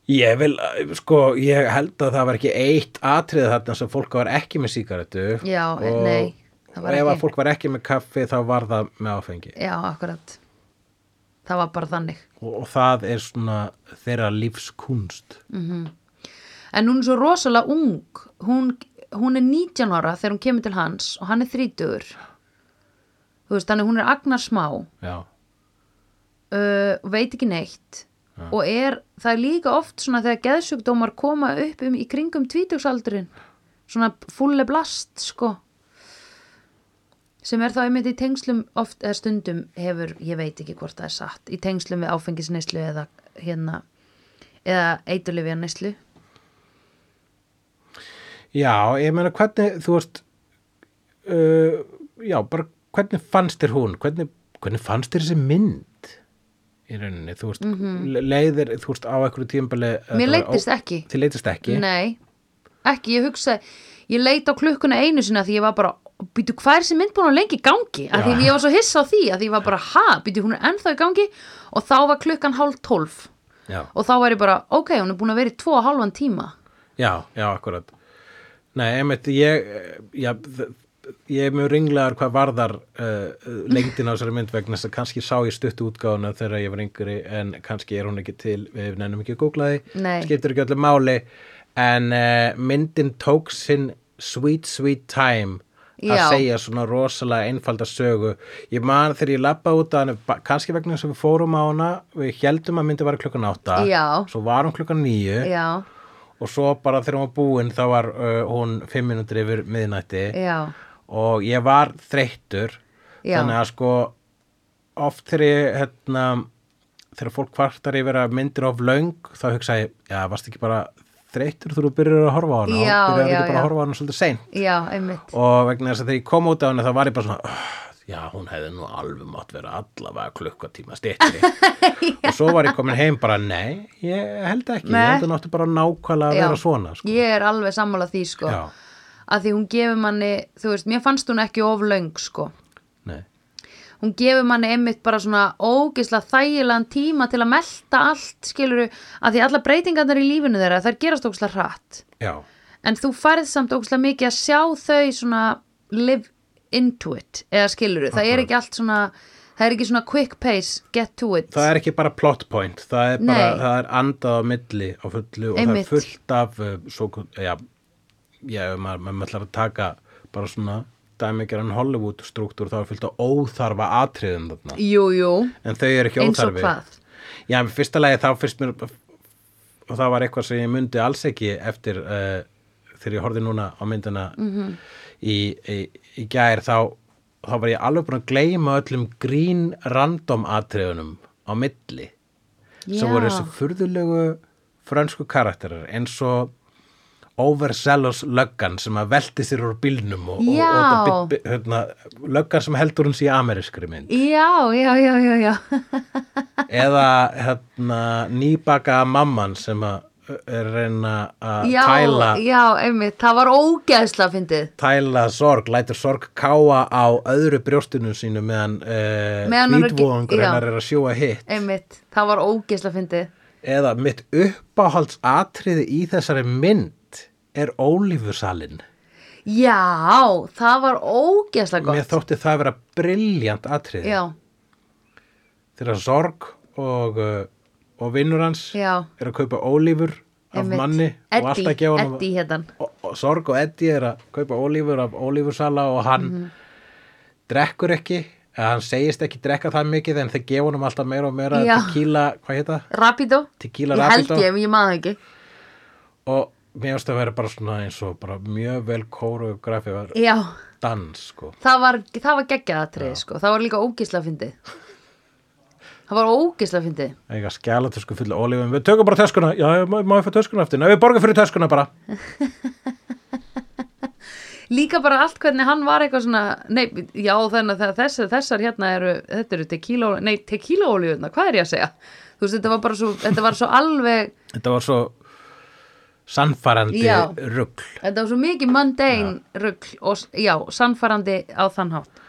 A: Ég vil, eh, sko, ég held að það var ekki eitt atrið þarna sem fólk var ekki með sígarettu.
B: Já, eh,
A: og
B: nei, það var
A: og Ef
B: ekki.
A: að fólk var ekki með kaffi þá var það með áfengi.
B: já akkurat það var bara þannig
A: Og, og það er svona þeirra lífskunst.
B: Mm. En hún er svo rosalega ung. Hún, hún er 19 ára þegar hún kemur til hans og hann er 30. Þú veist, þannig hún er agnar smá,
A: Já,
B: uh, veit ekki neitt og er, það er líka oft svona þegar geðsjúkdómar koma upp um í kringum tvítugsaldurinn. Svona fulle blast, sko. Sem er þá einmitt í tengslum oft eða stundum hefur, ég veit ekki hvort það er satt, í tengslum við áfengisneislu eða hérna, eða eiturlifja neislu.
A: já ég meina hvernig, þú veist, uh, já, bara hvernig fannst þér hún? Hvernig, hvernig fannst þér þessi mynd? Í rauninni, þú veist, leiðir, þú veist, á einhverju eh, tímbali.
B: Mhm. Mér leiddist ekki.
A: Þið leittist ekki?
B: Nei, ekki, ég hugsa ég leit á klukkuna einu sinna því ég var bara býtu hvað er sem mynd búin að lengi í gangi að því
A: Já.
B: ég var svo hissa á því, að því ég var bara ha, býtu hún er ennþá í gangi og þá var klukkan hálf tólf
A: Já.
B: og þá var ég bara, ok, hún er búin að vera í tvo og hálfan tíma
A: eh, Já, já, akkurat. Nei, einmitt, ég, já, þ- ég er mjög ringlegar hvað varðar uh, lengdina á þessari mynd vegna þess að kannski sá ég stuttu útgáfuna þegar ég var yngri en kannski er hún ekki til við nennum ekki að googla því
B: Nei.
A: skiptir ekki öllu máli en uh, myndin tók sinn sweet sweet time að
B: Já.
A: segja svona rosalega einfalda sögu ég man þegar ég labba út að hann kannski vegna þess að við fórum á hana við heldum að myndi var klukkan átta
B: Já.
A: svo var hún klukkan níu
B: já,
A: og svo bara þegar hún var búin þá var uh, hún fimm minútur yfir miðnætti
B: já,
A: og ég var þreyttur
B: Já.
A: þannig að sko oft þegar ég hérna, þegar fólk kvartar yfir að myndir of löng þá hugsa ég, já, varst ekki bara þreyttur þegar þú byrjar að horfa á hana
B: Já,
A: og byrjar
B: já,
A: ekki bara
B: já.
A: að horfa á hana svolítið sein
B: já, einmitt
A: og vegna þess að þegar ég kom út á hana þá var ég bara svona "Ugh, já, hún hefði nú alveg mátt vera allavega klukkutíma
B: (laughs)
A: styttri og svo var ég komin heim bara, nei, ég held ekki ég
B: Nei.
A: held að náttu bara nákvæmlega að
B: Já.
A: vera svona sko.
B: ég er alveg sammála því sko
A: Já.
B: að því hún gefur manni, þú veist, mér fannst hún ekki of löng sko
A: Nei.
B: hún gefur manni einmitt bara svona ógislega þægilegan tíma til að melta allt skiluru, að því allar breytingarnar í lífinu þeirra, þær gerast ógislega hratt
A: já,
B: en þú færð samt ógislega mikið að sjá þau svona live into it, eða skiluru, það er ekki allt svona það er ekki svona quick pace, get to it
A: það er ekki bara plot point það er, bara,
B: Nei.
A: það er andað á milli á fullu og
B: Einmitt.
A: það er fullt af uh, svo, já, já, ef maður, maður, maður ætlar að taka bara svona dæmikjaran Hollywood struktúr þá er fullt af óþarfa atriðum þarna
B: jú, jú,
A: en þau eru ekki
B: eins og
A: óþarfi
B: hvað
A: já, í fyrsta lagi þá fyrst mér og það var eitthvað sem ég myndi alls ekki eftir uh, þegar ég horfði núna á myndina
B: Mhm.
A: í, í, í gær þá, þá var ég alveg búin að gleyma öllum grín random atriðunum á milli sem voru þessi furðulegu frönsku karakterar eins og overzealous löggan sem að velti sér úr bílnum og, og, og
B: Já.
A: þetta bi- bi- hérna, löggan sem heldur hún sé í amerískri mynd
B: Já, já, já, já, já,
A: eða hérna, nýbaka mamman sem að er að reyna að
B: já,
A: tæla,
B: já, einmitt, það var ógeðsla fyndið,
A: tæla sorg lætur sorg káa á öðru brjóstinu sínu meðan, uh,
B: Meðan hún er að ge-
A: hvítvóðungur
B: já.
A: hennar er að sjóa hitt
B: einmitt, það var ógeðsla fyndið,
A: eða mitt uppáhalds atriði í þessari mynd er ólífusalinn
B: já, það var ógeðsla gott,
A: mér þótti það að vera briljant atriði
B: já,
A: þegar sorg og, uh, og vinnur hans
B: já,
A: er að kaupa ólífur af
B: einmitt,
A: manni og alltaf að gefa hann
B: Eddi hétan,
A: og, og Sorg og Eddi er að kaupa ólífur af ólífursala og hann
B: Mhm.
A: drekkur ekki eða hann segist ekki drekka það mikið en þeir gefa honum alltaf meira og meira
B: Já.
A: tequila, hvað heita?
B: Rapido,
A: Tequila
B: ég held
A: Rapido.
B: ég, ég maður ekki,
A: og mér finnst að vera bara svona eins og bara mjög vel kórugrafi var
B: já,
A: dans sko
B: það var, það var geggjaðatrið, sko, það var líka ógeðsla fyndið, það var ógeðsla fyndið,
A: eiga skjálatösku fulla ólífum við tökum bara töskuna, já, má, má ég fá töskuna aftur nei, við borgum fyrir töskuna bara
B: Líka bara allt hvernig hann var eitthvað svona, nei, já þannig að þessar, þessar hérna eru, þetta eru tequila, nei, tequila olíuðna, hvað er ég að segja? Þú veist, þetta var bara svo, þetta var svo alveg,
A: þetta var svo sannfærandi
B: Já.
A: rugl
B: þetta var svo mikið mundane rugl og, s- já, sannfærandi á þann hátt.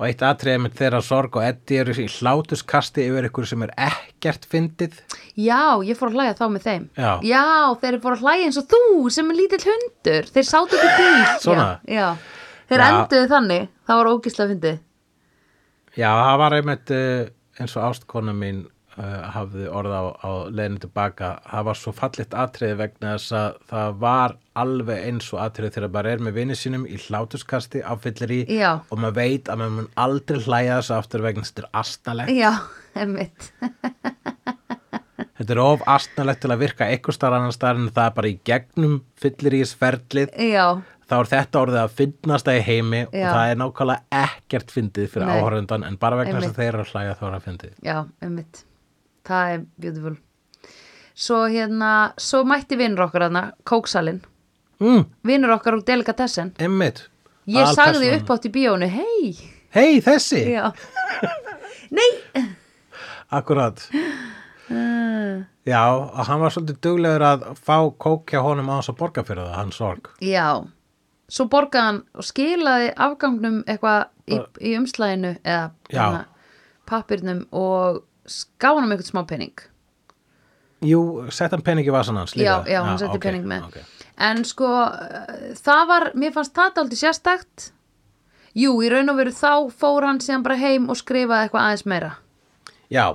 A: og eitt atriðið mitt þeirra sorg og Eddi eru í hlátuskasti yfir ykkur sem er ekkert fyndið
B: Já, ég fór að hlæja þá með þeim.
A: Já.
B: þeir eru fór að hlæja eins og þú sem er lítill hundur, þeir sátu ekki bíl.
A: (laughs) Svona.
B: Já, já. þeir
A: Já.
B: enduðu þannig, það var ógislega fyndið.
A: Já, það var einmitt eh, eins og ástkona mín uh, hafði orða á, á leiðinu tilbaka það var svo fallitt atriði vegna þess að það var alveg eins og atriði þegar bara er með vinni sínum í hlátuskasti á fyllir í
B: Já.
A: og maður veit að maður mun aldrei hlæja þessu aftur vegna þess að þetta er astnalegt
B: Já, emmitt.
A: þetta er of astnalegt til að virka eitthvað starf annars starf en það er bara í gegnum fyllir í sverlið
B: Já,
A: þá er þetta orðið að fyndnast það í heimi og
B: Já.
A: það er nákvæmlega ekkert fyndið fyrir
B: Nei.
A: áhörundan en bara vegna þess
B: Einmitt.
A: að þeir eru að hlæja þá er að fyndið
B: Já, einmitt. Það er beautiful. Svo hérna, svo mætti vinnur okkar hana, kóksalinn.
A: mm,
B: Vinnur okkar úr delikatessen.
A: Einmitt.
B: Ég sagði
A: Aðalpersónan.
B: upp átt í bíónu, hei,
A: Hei, þessi,
B: já. Nei,
A: akkurat
B: Ah.
A: Já, og hann var svolítið duglegur að fá kók hjá honum á þess að borga fyrir það, hann sorg
B: já. Svo borgaði hann og skilaði afgangnum eitthvað í, í umslæðinu eða
A: Já.
B: pappirnum og skáði hann um eitthvað smá penning.
A: Jú, sett hann pening í vasan hans líka
B: Já, já, hann setti
A: ok,
B: pening með.
A: ok.
B: En sko, eh, það var, mér fannst það aldrei sérstakt Jú, í raun og veru þá fór hann síðan bara heim og skrifaði eitthvað aðeins meira.
A: já,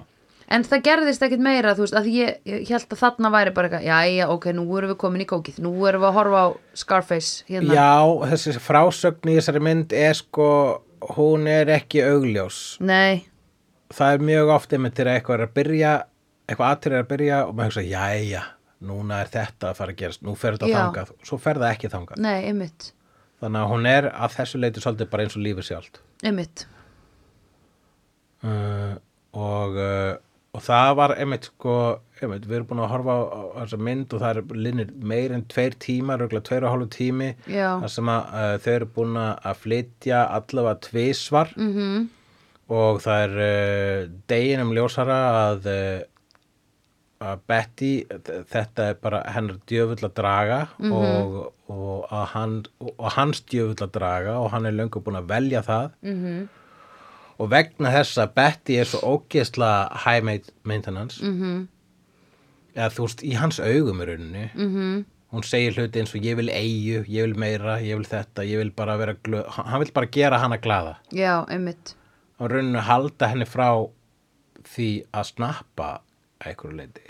B: En það gerðist ekkit meira, þú veist, að ég, ég held að þarna væri bara eitthvað, já, já, ok, nú erum við komin í kókið, nú erum við að horfa á Scarface hérna.
A: já, þessi frásögn í þessari mynd er sko, hún er ekki augljós.
B: Nei,
A: það er mjög oft einmitt þegar eitthvað er að byrja eitthvað aðtrið er að byrja og maður hugsa jæja, núna er þetta að fara að gerast nú fer þetta
B: Já.
A: þangað, svo fer það ekki þangað
B: nei, einmitt,
A: þannig að hún er að þessu leiti svolítið bara eins og lífið sjálft
B: einmitt,
A: uh, og, uh, og það var einmitt sko, einmitt, við erum búin að horfa á, á, á þessa mynd og það er linnir meir en tveir tímar, röglega tveir og hálfu tími
B: Já.
A: þar sem að uh, þau eru búin að flytja allavega tvisvar
B: mhm,
A: og það er uh, deginum ljósara að, uh, að Betty þetta er bara hennar djöfull að draga og, og, að hann, og hans djöfull að draga og hann er löngu búin að velja það
B: mhm,
A: og vegna þess að Betty er svo ógeðsla high ma- maintenance
B: mhm,
A: eða þú veist í hans augum í rauninni
B: mhm,
A: hún segir hluti eins og ég vil eigu, ég vil meira, ég vil þetta ég vil bara vera glöð, hann hann vill bara gera hana glaða
B: já, einmitt,
A: á rauninu að halda henni frá því að snappa að einhverju leiti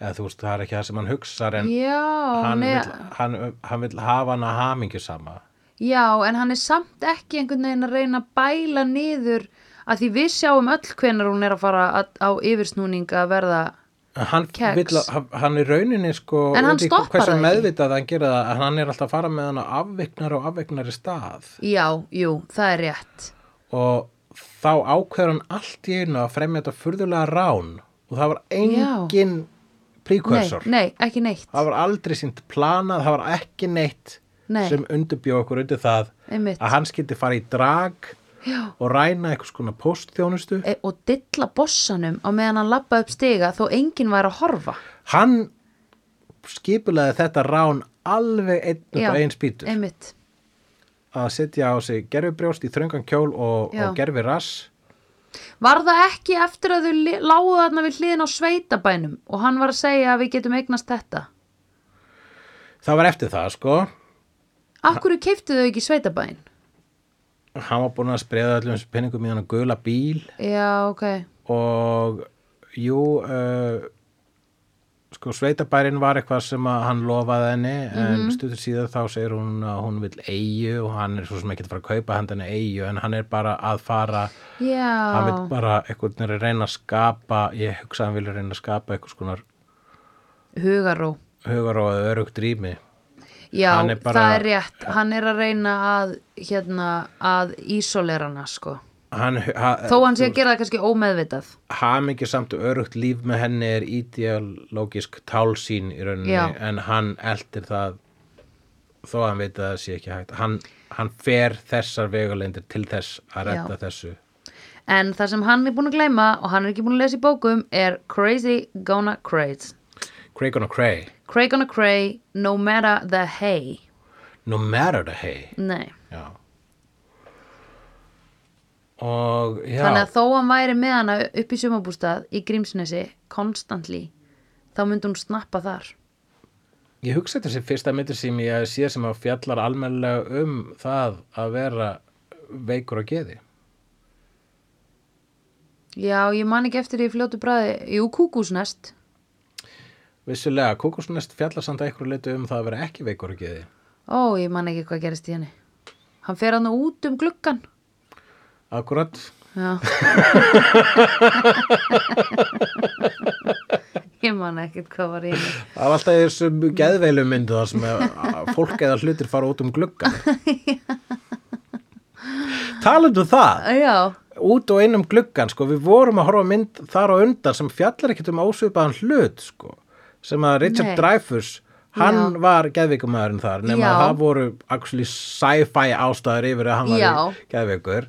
A: eða þú veist, það er ekki það sem hann hugsar en
B: já,
A: hann,
B: nei,
A: vill, hann, hann vill hafa hana hamingju sama
B: Já, en hann er samt ekki einhvern veginn að reyna að bæla niður að því við sjáum öll hvenar hún er að fara að, á yfirsnúning að verða
A: hann,
B: Kex.
A: vill, að- hann- hann er rauninni sko
B: En hann
A: veit ekki
B: stoppar
A: hversu
B: það ekki.
A: meðvitað hann gera það að hann er alltaf að fara með hann á afviknar og afviknari stað
B: Já, jú, það er rétt
A: og þá ákveður hann allt í einu að fremja þetta furðulega rán og það var engin precursor
B: Nei, nei, ekki neitt
A: það var aldrei sínt planað, það var ekki neitt
B: Nei.
A: sem undurbjóð okkur undir það
B: Einmitt.
A: að hann skyldi fara í drag
B: Já.
A: og ræna einhvers konar postþjónustu
B: E og dilla bossanum á meðan hann lappa upp stiga þó enginn væri að horfa
A: hann skipulaði þetta rán alveg einn upp
B: Já,
A: á einn spýtur
B: Einmitt,
A: að setja á sig gerfibrjóst í þröngan kjól og,
B: Já.
A: og gerfi rass
B: Var það ekki eftir að þau li- lágu þarna við hliðin á sveitabænum og hann var að segja að við getum eignast þetta?
A: það var eftir það sko
B: Af hverju keiftu þau ekki sveitabæn?
A: hann var búin að spreða öllum þessum penningum í hann að gula bíl
B: Já, ok,
A: og jú uh, sko sveitabærin var eitthvað sem að hann lofaði henni en stuttur síðan þá segir hún að hún vil eigu og hann er svo sem ekki að fara að kaupa hann henni eigu en hann er bara að fara
B: já
A: hann vil bara eitthvað er að reyna að skapa ég hugsa að hann vil reyna að skapa eitthvað skonar
B: Hugaró
A: hugar og örugt rými
B: Já,
A: Hann er bara-
B: það er rétt. Hann er að reyna að, hérna, að ísolera hana, sko.
A: hann, ha,
B: Þó hann sé að gera það kannski ómeðvitað.
A: hamingju samt og örugt líf með henni er ideológisk tálsýn í rauninni
B: Já.
A: en hann eldir það þó að hann veit að það sé ekki hægt hann, hann fer þessar vegulendir til þess að redda þessu
B: En það sem hann er búin að gleyma og hann er ekki búin að lesa í bókum er Crazy Gonna Craze.
A: Craig on a Cray,
B: Cray Gonna Cray, no matter the hay.
A: no matter the hay
B: Nei.
A: já og já
B: Þannig að þó hann væri með hana upp í sumabústað í Grímsnesi, constantly, þá myndi hún snappa þar.
A: ég hugsa þetta sem fyrsta myndir sem ég hef séð sem að fjallar almennilega um það að vera veikur á geði
B: Já, ég man ekki eftir því í fljótu bræði. Jú, kúkúsnest.
A: vissulega, kókusnest fjallar samt að einhverju leitu um það að vera ekki veikur á geði
B: Ó, ég man ekki hvað gerist í henni. Hann fer hann út um gluggan.
A: akkurat
B: Já. (laughs) ég man ekkert hvað var í henni.
A: Það er alltaf í þessum geðveilu myndu þar sem að- að fólk eða hlutir fara út um glugga.
B: (laughs)
A: Talandi um það,
B: Já,
A: út og einum gluggan, sko, við vorum að horfa á mynd þar á undan sem fjallar ekkert um ásvipaðan hlut, sko, sem að Richard
B: Nei.
A: Dreyfus, hann var geðveikumæðurinn þar, nema
B: Já.
A: að það voru actually sci-fi ástæður yfir að hann var
B: Já.
A: geðveikur,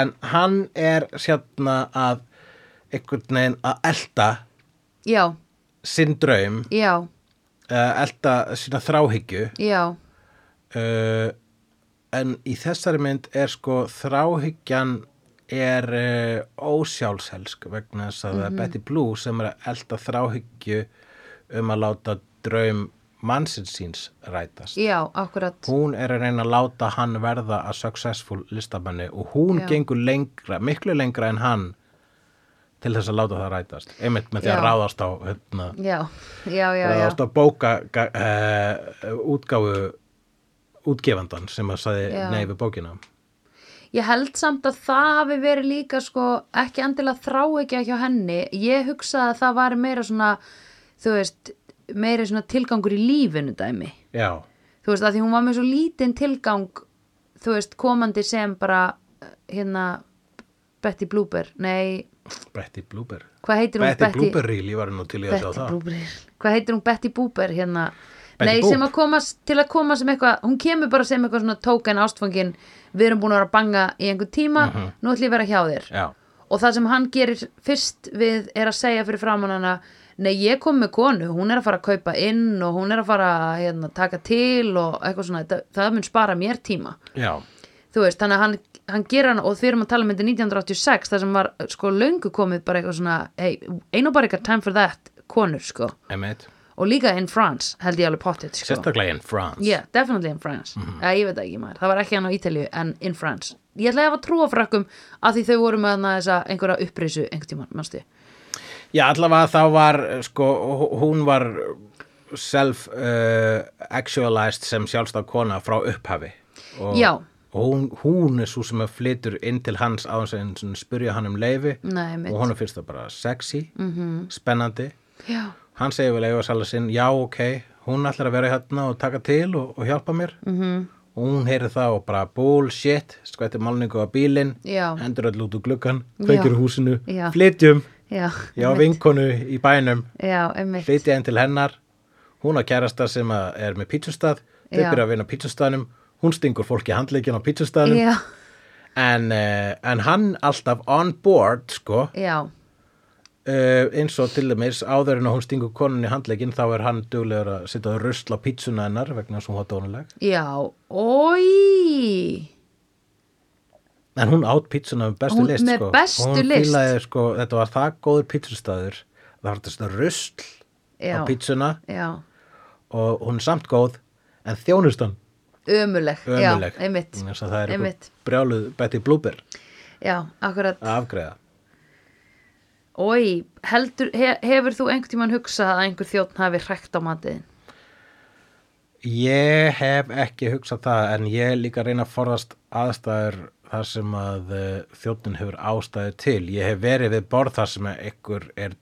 A: en hann er sérna að einhvern veginn að elta
B: já,
A: sinn draum
B: já,
A: uh, elda sína þráhyggju
B: já,
A: uh, en í þessari mynd er sko þráhyggjan er uh, ósjálfshelsk
B: Mhm.
A: vegna þess að það er Betty Blue sem er að elda þráhyggju um að láta draum mannsins síns rætast
B: já, akkurat
A: hún er að reyna að láta hann verða að successful listamanni og hún
B: Já.
A: gengur lengra, miklu lengra en hann til þess að láta það rætast einmitt með því að
B: Já.
A: ráðast á hérna,
B: já, já, já, já,
A: ráðast á bóka uh, útgáfu útgefandan sem að saði
B: Já.
A: nei við bókina
B: ég held samt að það hafi verið líka sko ekki endilega þrá ekki hjá henni ég hugsaði að það var meira svona þú veist, meira svona tilgangur í lífinu dæmi
A: já,
B: þú veist, að því hún var með svo lítinn tilgang þú veist, komandi sem bara eh, hérna Betty Blooper, nei
A: Betty Blooper
B: hvað heitir hún
A: Betty, Betty Blooper Reel, ég var nú til í að sjá
B: Betty
A: það
B: Blooper, hvað heitir hún Betty Booper hérna
A: Betty
B: Nei,
A: Boop.
B: sem að komast, til að koma sem eitthvað, hún kemur bara sem eitthvað svona tókan ástfangin, við erum búin að vera að banga í einhvern tíma,
A: Mhm.
B: nú ætlum ég að vera hjá þér.
A: já,
B: Og það sem hann gerir fyrst við er að segja fyrir framann hana, nei ég kom með konu, hún er að fara að kaupa inn og hún er að fara að hérna, taka til og eitthvað svona, það, það mun spara mér tíma.
A: já,
B: Þú veist, þannig að hann, hann gerir hann og því erum að tala um myndi 1986, það sem var sko löngu komið bara eitthvað svona, hey, einu bara eitthvað time for that, konur sko.
A: einmitt
B: Og líka in France, held ég alveg pottet sko.
A: sérstaklega in France
B: Yeah, definitely in France mm
A: Mhm.
B: Ég veit það ekki maður, það var ekki hann á Ítalíu en in France Ég ætlaði að hafa trú á frakkum að því þau voru með hana þessa einhverja upprisu einhvern tímann, mannstu
A: Já, allavega þá var, eh, sko, hú- hún var self-actualized sem sjálfstæð kona frá upphafi. Og,
B: Já.
A: Og hún, hún er svo sem að flytur inn til hans á hans að spyrja hann um leifi
B: Nei, Mhm. mitt
A: og hún er fyrst það bara sexy, -hmm. spennandi.
B: Já,
A: Hann segir vel eiga sæla sinn, já, ok, hún ætlar að vera hérna og taka til og, og hjálpa mér. Mm
B: Mhm.
A: -hmm. Og hún heyri það og bara bullshit, skvætti málningu á bílinn,
B: Já.
A: hendur öll út úr gluggan, kveikir
B: Já.
A: úr húsinu,
B: Já.
A: flytjum,
B: já,
A: já, vinkonu í bænum
B: já, einmitt
A: flytja einn til hennar hún á kærasta sem að er með pítsustað þau
B: Já.
A: byrja að vinna á pítsustaðnum hún stingur fólki handleikin á pítsustaðnum
B: Já,
A: en, uh, en hann alltaf on board sko uh,
B: já,
A: Eh, eins og til dæmis áður en að hún stingur konunni handleikin þá er hann duglegur að sitja að rusla á pítsuna hennar vegna þess að hún var dónuleg
B: já Ói
A: en hún átt pítsuna með bestu
B: Hún-
A: list
B: með
A: sko.
B: bestu
A: hún
B: list.
A: fílaði sko þetta var það góður pítsustaður það var þetta svona rusl
B: Já,
A: á pítsuna
B: já
A: og hún er samt góð en þjónustan
B: Ömuleg,
A: ömuleg
B: já, einmitt
A: Þannig að það er
B: Einmitt.
A: einmitt. brjáluð Betty Blooper
B: Já, akkurat
A: að afgreða
B: Ói, heldur, he, hefur þú einhvern tímann hugsað að einhver þjótt hafi hrækt á matiðin?
A: ég hef ekki hugsað það en ég er líka að reyna að forðast aðstæður þar sem að þjóttin hefur ástæðu til ég hef verið við borð þar sem að ykkur er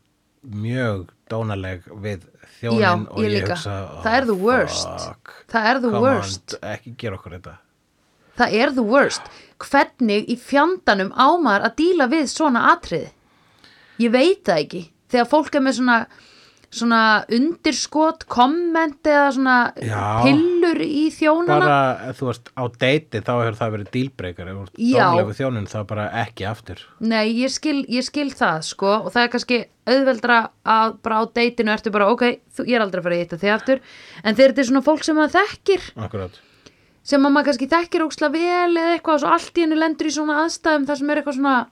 A: mjög dónaleg við þjónin
B: Já,
A: og
B: ég
A: ég,
B: líka.
A: hugsa "Oh, "Ah,
B: Það er the worst.
A: fuck,
B: Það er the
A: come
B: worst
A: on, ekki gera okkur þetta
B: Það er the worst. Hvernig í fjandanum ámar að díla við svona atrið? Ég veit það ekki. Þegar fólk er með svona, svona undirskot, komment eða svona
A: Já.
B: pillur í þjónana.
A: bara ef þú veist á deiti þá hefur það verið dílbreykar ef þú ert
B: Já.
A: dónaleg við þjónin þá bara ekki aftur
B: Nei, ég skil, ég skil það sko og það er kannski auðveldra að bara á deitinu ertu bara ok, þú, ég er aldrei að fara í þetta þig aftur. En þegar þetta er svona fólk sem maður þekkir,
A: akkurát
B: sem að maður kannski þekkir óksla vel eða eitthvað og svo allt í hennu lendur í svona aðstæðum þar sem er eitthvað svona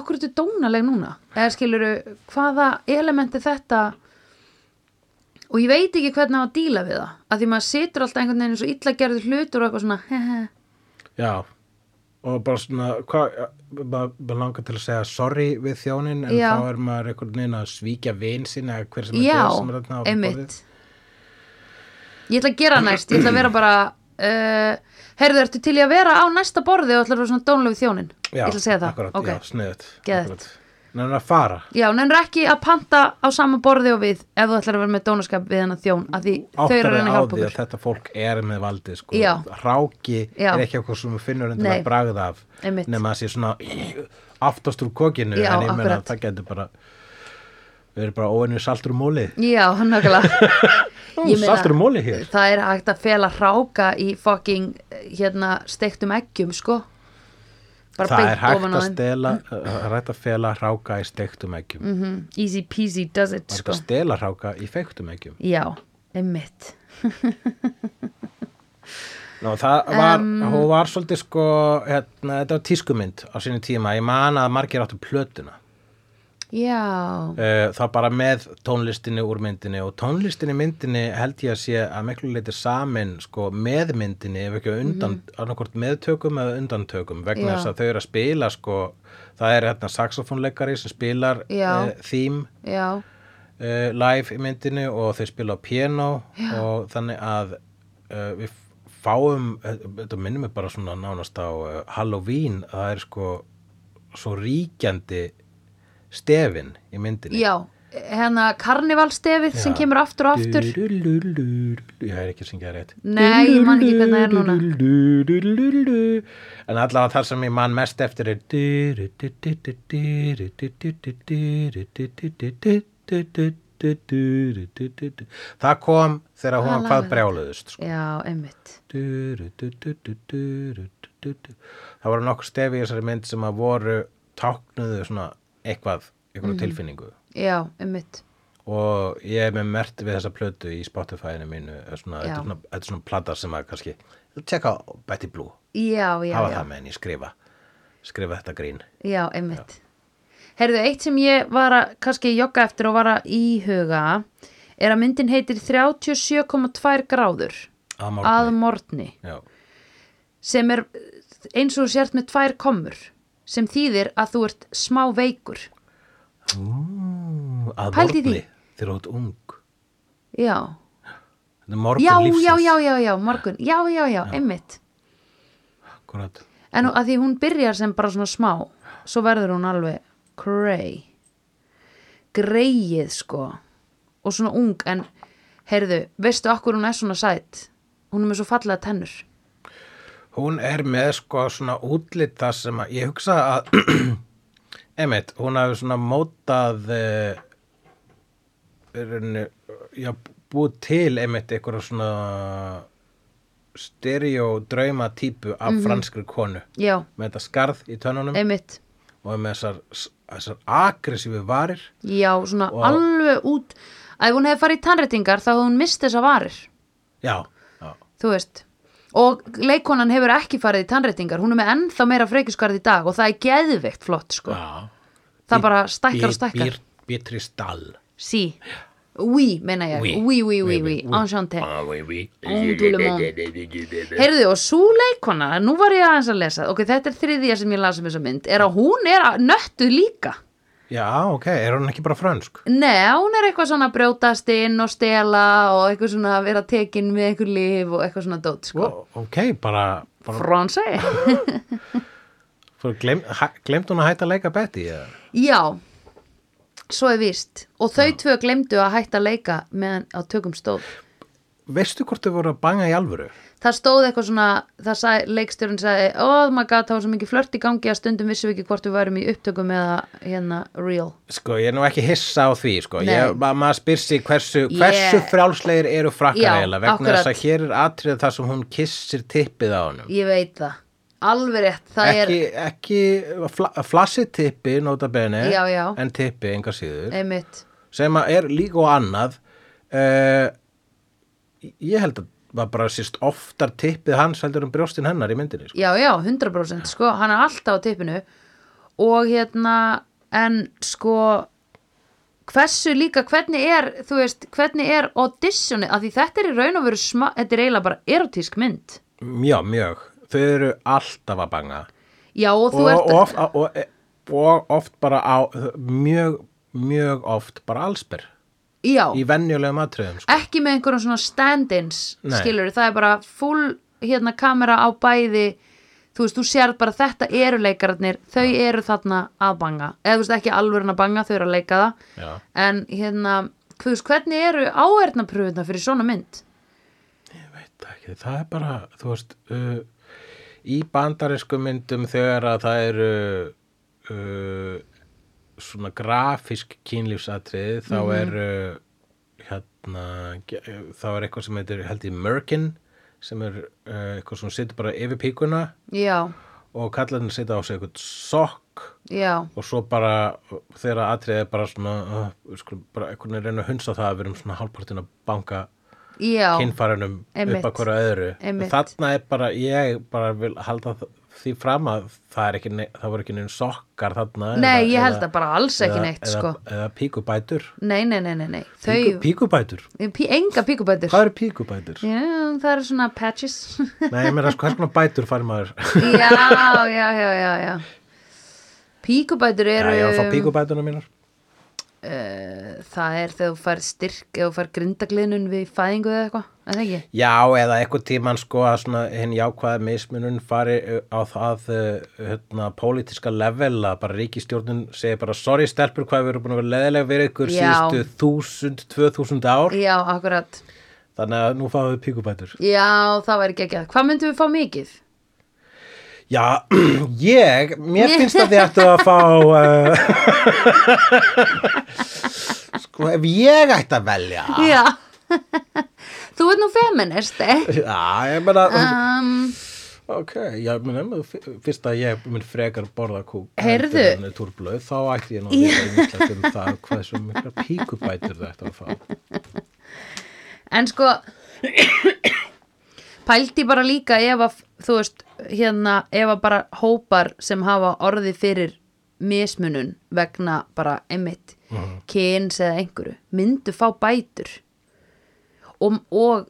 B: okkur þetta dónaleg núna eða skiluru hvaða elementi þetta og ég veit ekki hvernig á að díla við það að því maður situr alltaf einhvern veginn svo illa gerður hlutur og eitthvað svona (laughs) hehe
A: Já, og bara svona, hvað, maður maður langar til að segja sorry við þjónin, en
B: Já.
A: þá er maður einhvern veginn að svíkja vin sín eða hver sem er
B: já,
A: þjóð sem er þarna á
B: einmitt ég ætla að gera næst ég ætla að vera bara uh, heyrðu, ertu til í að vera á næsta borði og ætla að vera svona dónaleg við þjónin
A: Já,
B: ég ætla að segja það,
A: Akkurat,
B: ok
A: já, sniðut.
B: Geðveikt.
A: Nennan að fara.
B: Já, nennir ekki að panta á sama borði og við ef þú ætlar að vera með dónaskap við hennar þjón að því þau eru
A: Áttar
B: að reyna að
A: á
B: hjálpa
A: því að
B: okkur
A: þetta fólk er með valdið, sko.
B: Já.
A: Ráki
B: Já.
A: er ekki eitthvað sem við finnur endur
B: Nei.
A: að bragða af.
B: Einmitt.
A: Nema að sé svona (clears throat) aftast úr kokinu,
B: Já,
A: en ég
B: akkurat.
A: meina að það getur bara, við erum bara óinu saltur um móli.
B: Já,
A: (laughs)
B: nákvæmlega Ég meina,
A: Saltur um móli hér.
B: Það er hægt að fela hráka í fucking hérna steiktum eggjum sko bara
A: það er
B: beint
A: hægt
B: ofan á
A: að
B: þeim.
A: stela uh, hægt að fela ráka í steiktum eggjum mm,
B: Mhm, Easy peasy does it
A: sko.
B: sko
A: að stela ráka í feiktum eggjum
B: Já, einmitt
A: Ná, það var, hún var svolítið sko hérna, þetta var tískumynd á sinni tíma ég man að margir áttu plötuna
B: já,
A: Eh, þá bara með tónlistinni úr myndinni og tónlistinni í myndinni held ég að sé að miklu leiti samin sko, með myndinni ef ekki undan, mm meðtökum eða undantökum vegna
B: Mhm. Já.
A: þess að þau eru að spila sko, það er hérna saxofónleikari sem spilar eh,
B: Já.
A: theme
B: já,
A: uh, live í myndinu og þau spila á piano og þannig að uh, við fáum eh, þetta minnum við bara svona nánast á uh, Halloween að það er sko svo ríkjandi stefin í myndinu
B: já hérna karnivalstefið sem kemur aftur og aftur
A: Ég er ekki að syngja rétt
B: Nei, ég man ekki hvernig það er núna.
A: En allavega þar sem ég man mest eftir er Það kom þegar hún var hvað brjáluðust sko.
B: já, einmitt
A: Það voru nokkur stefi í þessari mynd sem að voru táknuðu svona eitthvað,
B: Mhm.
A: eitthvað tilfinningu
B: já, einmitt
A: og ég er með mert við þessa plötu í Spotify-inu mínu er svona,
B: Já.
A: þetta er svona, þetta er svona plata sem að kannski tjekka á Betty Blue,
B: já, já,
A: hafa
B: já,
A: það með henni skrifa skrifa þetta grín
B: já, einmitt heyrðu, eitt sem ég var að kannski jogga eftir og var að íhuga er að myndin heitir 37,2 gráður
A: að
B: að
A: morgni
B: morgni
A: Já,
B: sem er eins og þú sért með tvær komur sem þýðir að þú ert smá veikur
A: Ú, að
B: Mm. Pældu í
A: morgni
B: því.
A: þegar þú ert ung
B: já,
A: þetta er morgun
B: já,
A: lífsins
B: já, já, já, já, morgun já, já, já, einmitt
A: Akkurat.
B: en að því hún byrjar sem bara svona smá svo verður hún alveg grey greið sko og svona ung en heyrðu, veistu okkur hún er svona sætt hún er með svo fallega tennur
A: Hún er með sko svona útlit það sem að ég hugsa að (clears throat) einmitt, hún hafi svona mótað eh, rauninu, já, búið til einmitt einhverja svona stereodrauma típu af
B: Mhm.
A: franskri konu
B: já,
A: með þetta skarð í tönnunum
B: einmitt
A: og með þessar, þessar aggressífi varir
B: já, svona alveg út að ef hún hefði farið í tannréttingar þá hefði hún mist þessa varir
A: já, já,
B: þú veist og leikonan hefur ekki farið í tannréttingar hún er með ennþá meira frekjuskarð í dag og það er geðveikt flott sko
A: já.
B: það bara stækkar og
A: Bí-
B: stækkar
A: býr- Býtri stall
B: sí, oui meina ég,
A: Oui.
B: oui, oui, oui,
A: Oui,
B: oui
A: oui.
B: enchanté
A: Ah, oui, oui. (laughs)
B: heyrðu og svo leikona, nú var ég aðeins að lesa ok, þetta er þriðja sem ég las um þessa mynd er að hún er að- nöttuð líka
A: Já, ok, er hún ekki bara frönsk?
B: Nei, hún er eitthvað svona að brjótast inn og stela og eitthvað svona að vera tekin með einhver líf og eitthvað svona dót sko.
A: Ó, ok, bara, bara
B: (laughs) Fransai
A: fór, glem, hæ, glemt hún að hætta að leika Betty eða?
B: Já, svo er víst og þau tvö glemdu að hætta að leika meðan á tökum stóð.
A: veistu hvort þau voru að banga í alvöru?
B: Það stóð eitthvað svona, það sagði, leikstjórinn sagði, oh my god, það var svo mikið flört í gangi að stundum vissum við ekki hvort við værum í upptökum eða hérna real.
A: Sko, ég er nú ekki hissa á því, sko
B: Nei.
A: ég, ma maður spyr sig hversu, hversu
B: Ég-
A: frjálslegir eru frakkar
B: Já,
A: eiginlega vegna þess
B: akkurat.
A: að hér er atrið það sem hún kissir tippið á honum
B: Ég veit það, alveg rétt, það
A: ekki, ekki fla, flassi tippi, nota bene
B: Já, já.
A: en tippi, enga síður
B: er einmitt.
A: sem að er líka og annað uh, ég held að var bara sýst oftar tippið hans heldur um brjóstin hennar í myndinni sko.
B: Já, já, 100% sko, hann er alltaf á tippinu og hérna, en sko hversu líka, hvernig er þú veist, hvernig er auditioni af því þetta er í raun og veru sma, þetta er eiginlega bara erotísk mynd
A: já, mjög, þau eru alltaf að banga
B: Já, og þú
A: og,
B: ert
A: og, oft, og, e- og oft bara á, mjög, mjög oft bara allsber
B: Já,
A: í venjulegum atriðum sko.
B: ekki með einhverjum svona stand-ins
A: Nei.
B: skilur, það er bara full hérna kamera á bæði þú veist, þú sér bara þetta eru leikararnir þau eru þarna að banga eða þú veist ekki alvörin að banga, þau eru að leika það
A: Já.
B: en hérna þú veist, hvernig eru áerðnapröfuna fyrir svona mynd?
A: ég veit ekki, það er bara þú veist uh, í bandarísku myndum þegar að það eru uh, svona grafísk kynlífsatrið þá
B: Mhm.
A: mm er hérna ge- þá er eitthvað sem heitir held í Merkin sem er uh, eitthvað sem situr bara yfir píkuna
B: Já,
A: og kallarinn sita á sig eitthvað sokk
B: já,
A: og svo bara þegar atriðið er bara svona uh, við skulum bara einhvern veginn reyna að hunsa það að við erum svona hálfpartin að banka
B: já
A: kynfærunum upp
B: Einmitt.
A: að hverju öðru
B: Einmitt.
A: þarna er bara, ég bara vil halda það því fram að það, er ekki, ne- það voru ekki neinn sokkar þarna
B: Nei, ég held að bara alls ekki
A: eða-
B: neitt,
A: eða,
B: sko.
A: eða píkubætur
B: Nei, nei, nei, nei, nei.
A: Píku,
B: Þau,
A: píkubætur,
B: pí, enga píkubætur.
A: hvað eru píkubætur?
B: (laughs) Já, það eru svona patches. (laughs)
A: Nei, ég meira, sko, hvers konar bætur fari maður
B: já, já, já, já, já. Píkubætur
A: Já,
B: eru...
A: ég var að fá píkubætuna mínar
B: eh, það er þegar þú fær styrk, eða þú fær grindagliðnun við fæðingu eða eitthvað, er það ekki?
A: Já, eða eitthvað tíman sko að svona hinn jákvæða mismunun fari uh, á það uh, hérna, pólitíska level að bara ríkistjórnun segir bara sorry stelpur hvað við erum búin að vera leðilega við ykkur
B: Já.
A: síðustu þúsund, tvö þúsund ár
B: Já, akkurat.
A: þannig að nú fáum við píkubætur
B: Já, það væri ekki Hvað myndum við fá mikið?
A: Já, (clears throat) ég, mér finnst að þið ættu að fá uh, (laughs) sko ef ég ætti að velja
B: Já. (laughs) þú ert nú feminist, eh?
A: Já, ég meina
B: Um,
A: Ok, já, menn ef maður f- fyrst að ég mun frekar borða kúk
B: Heyrðu.
A: túrblöð, þá ætti ég nú
B: (laughs)
A: að vita ýmislegt um það hvað svo mikla píkubætur þetta að fá
B: en sko, pældi bara líka ef að, þú veist, hérna, ef að bara hópar sem hafa orði fyrir mismunun vegna bara einmitt
A: Mhm.
B: kyns eða einhverju, myndu fá bætur og, og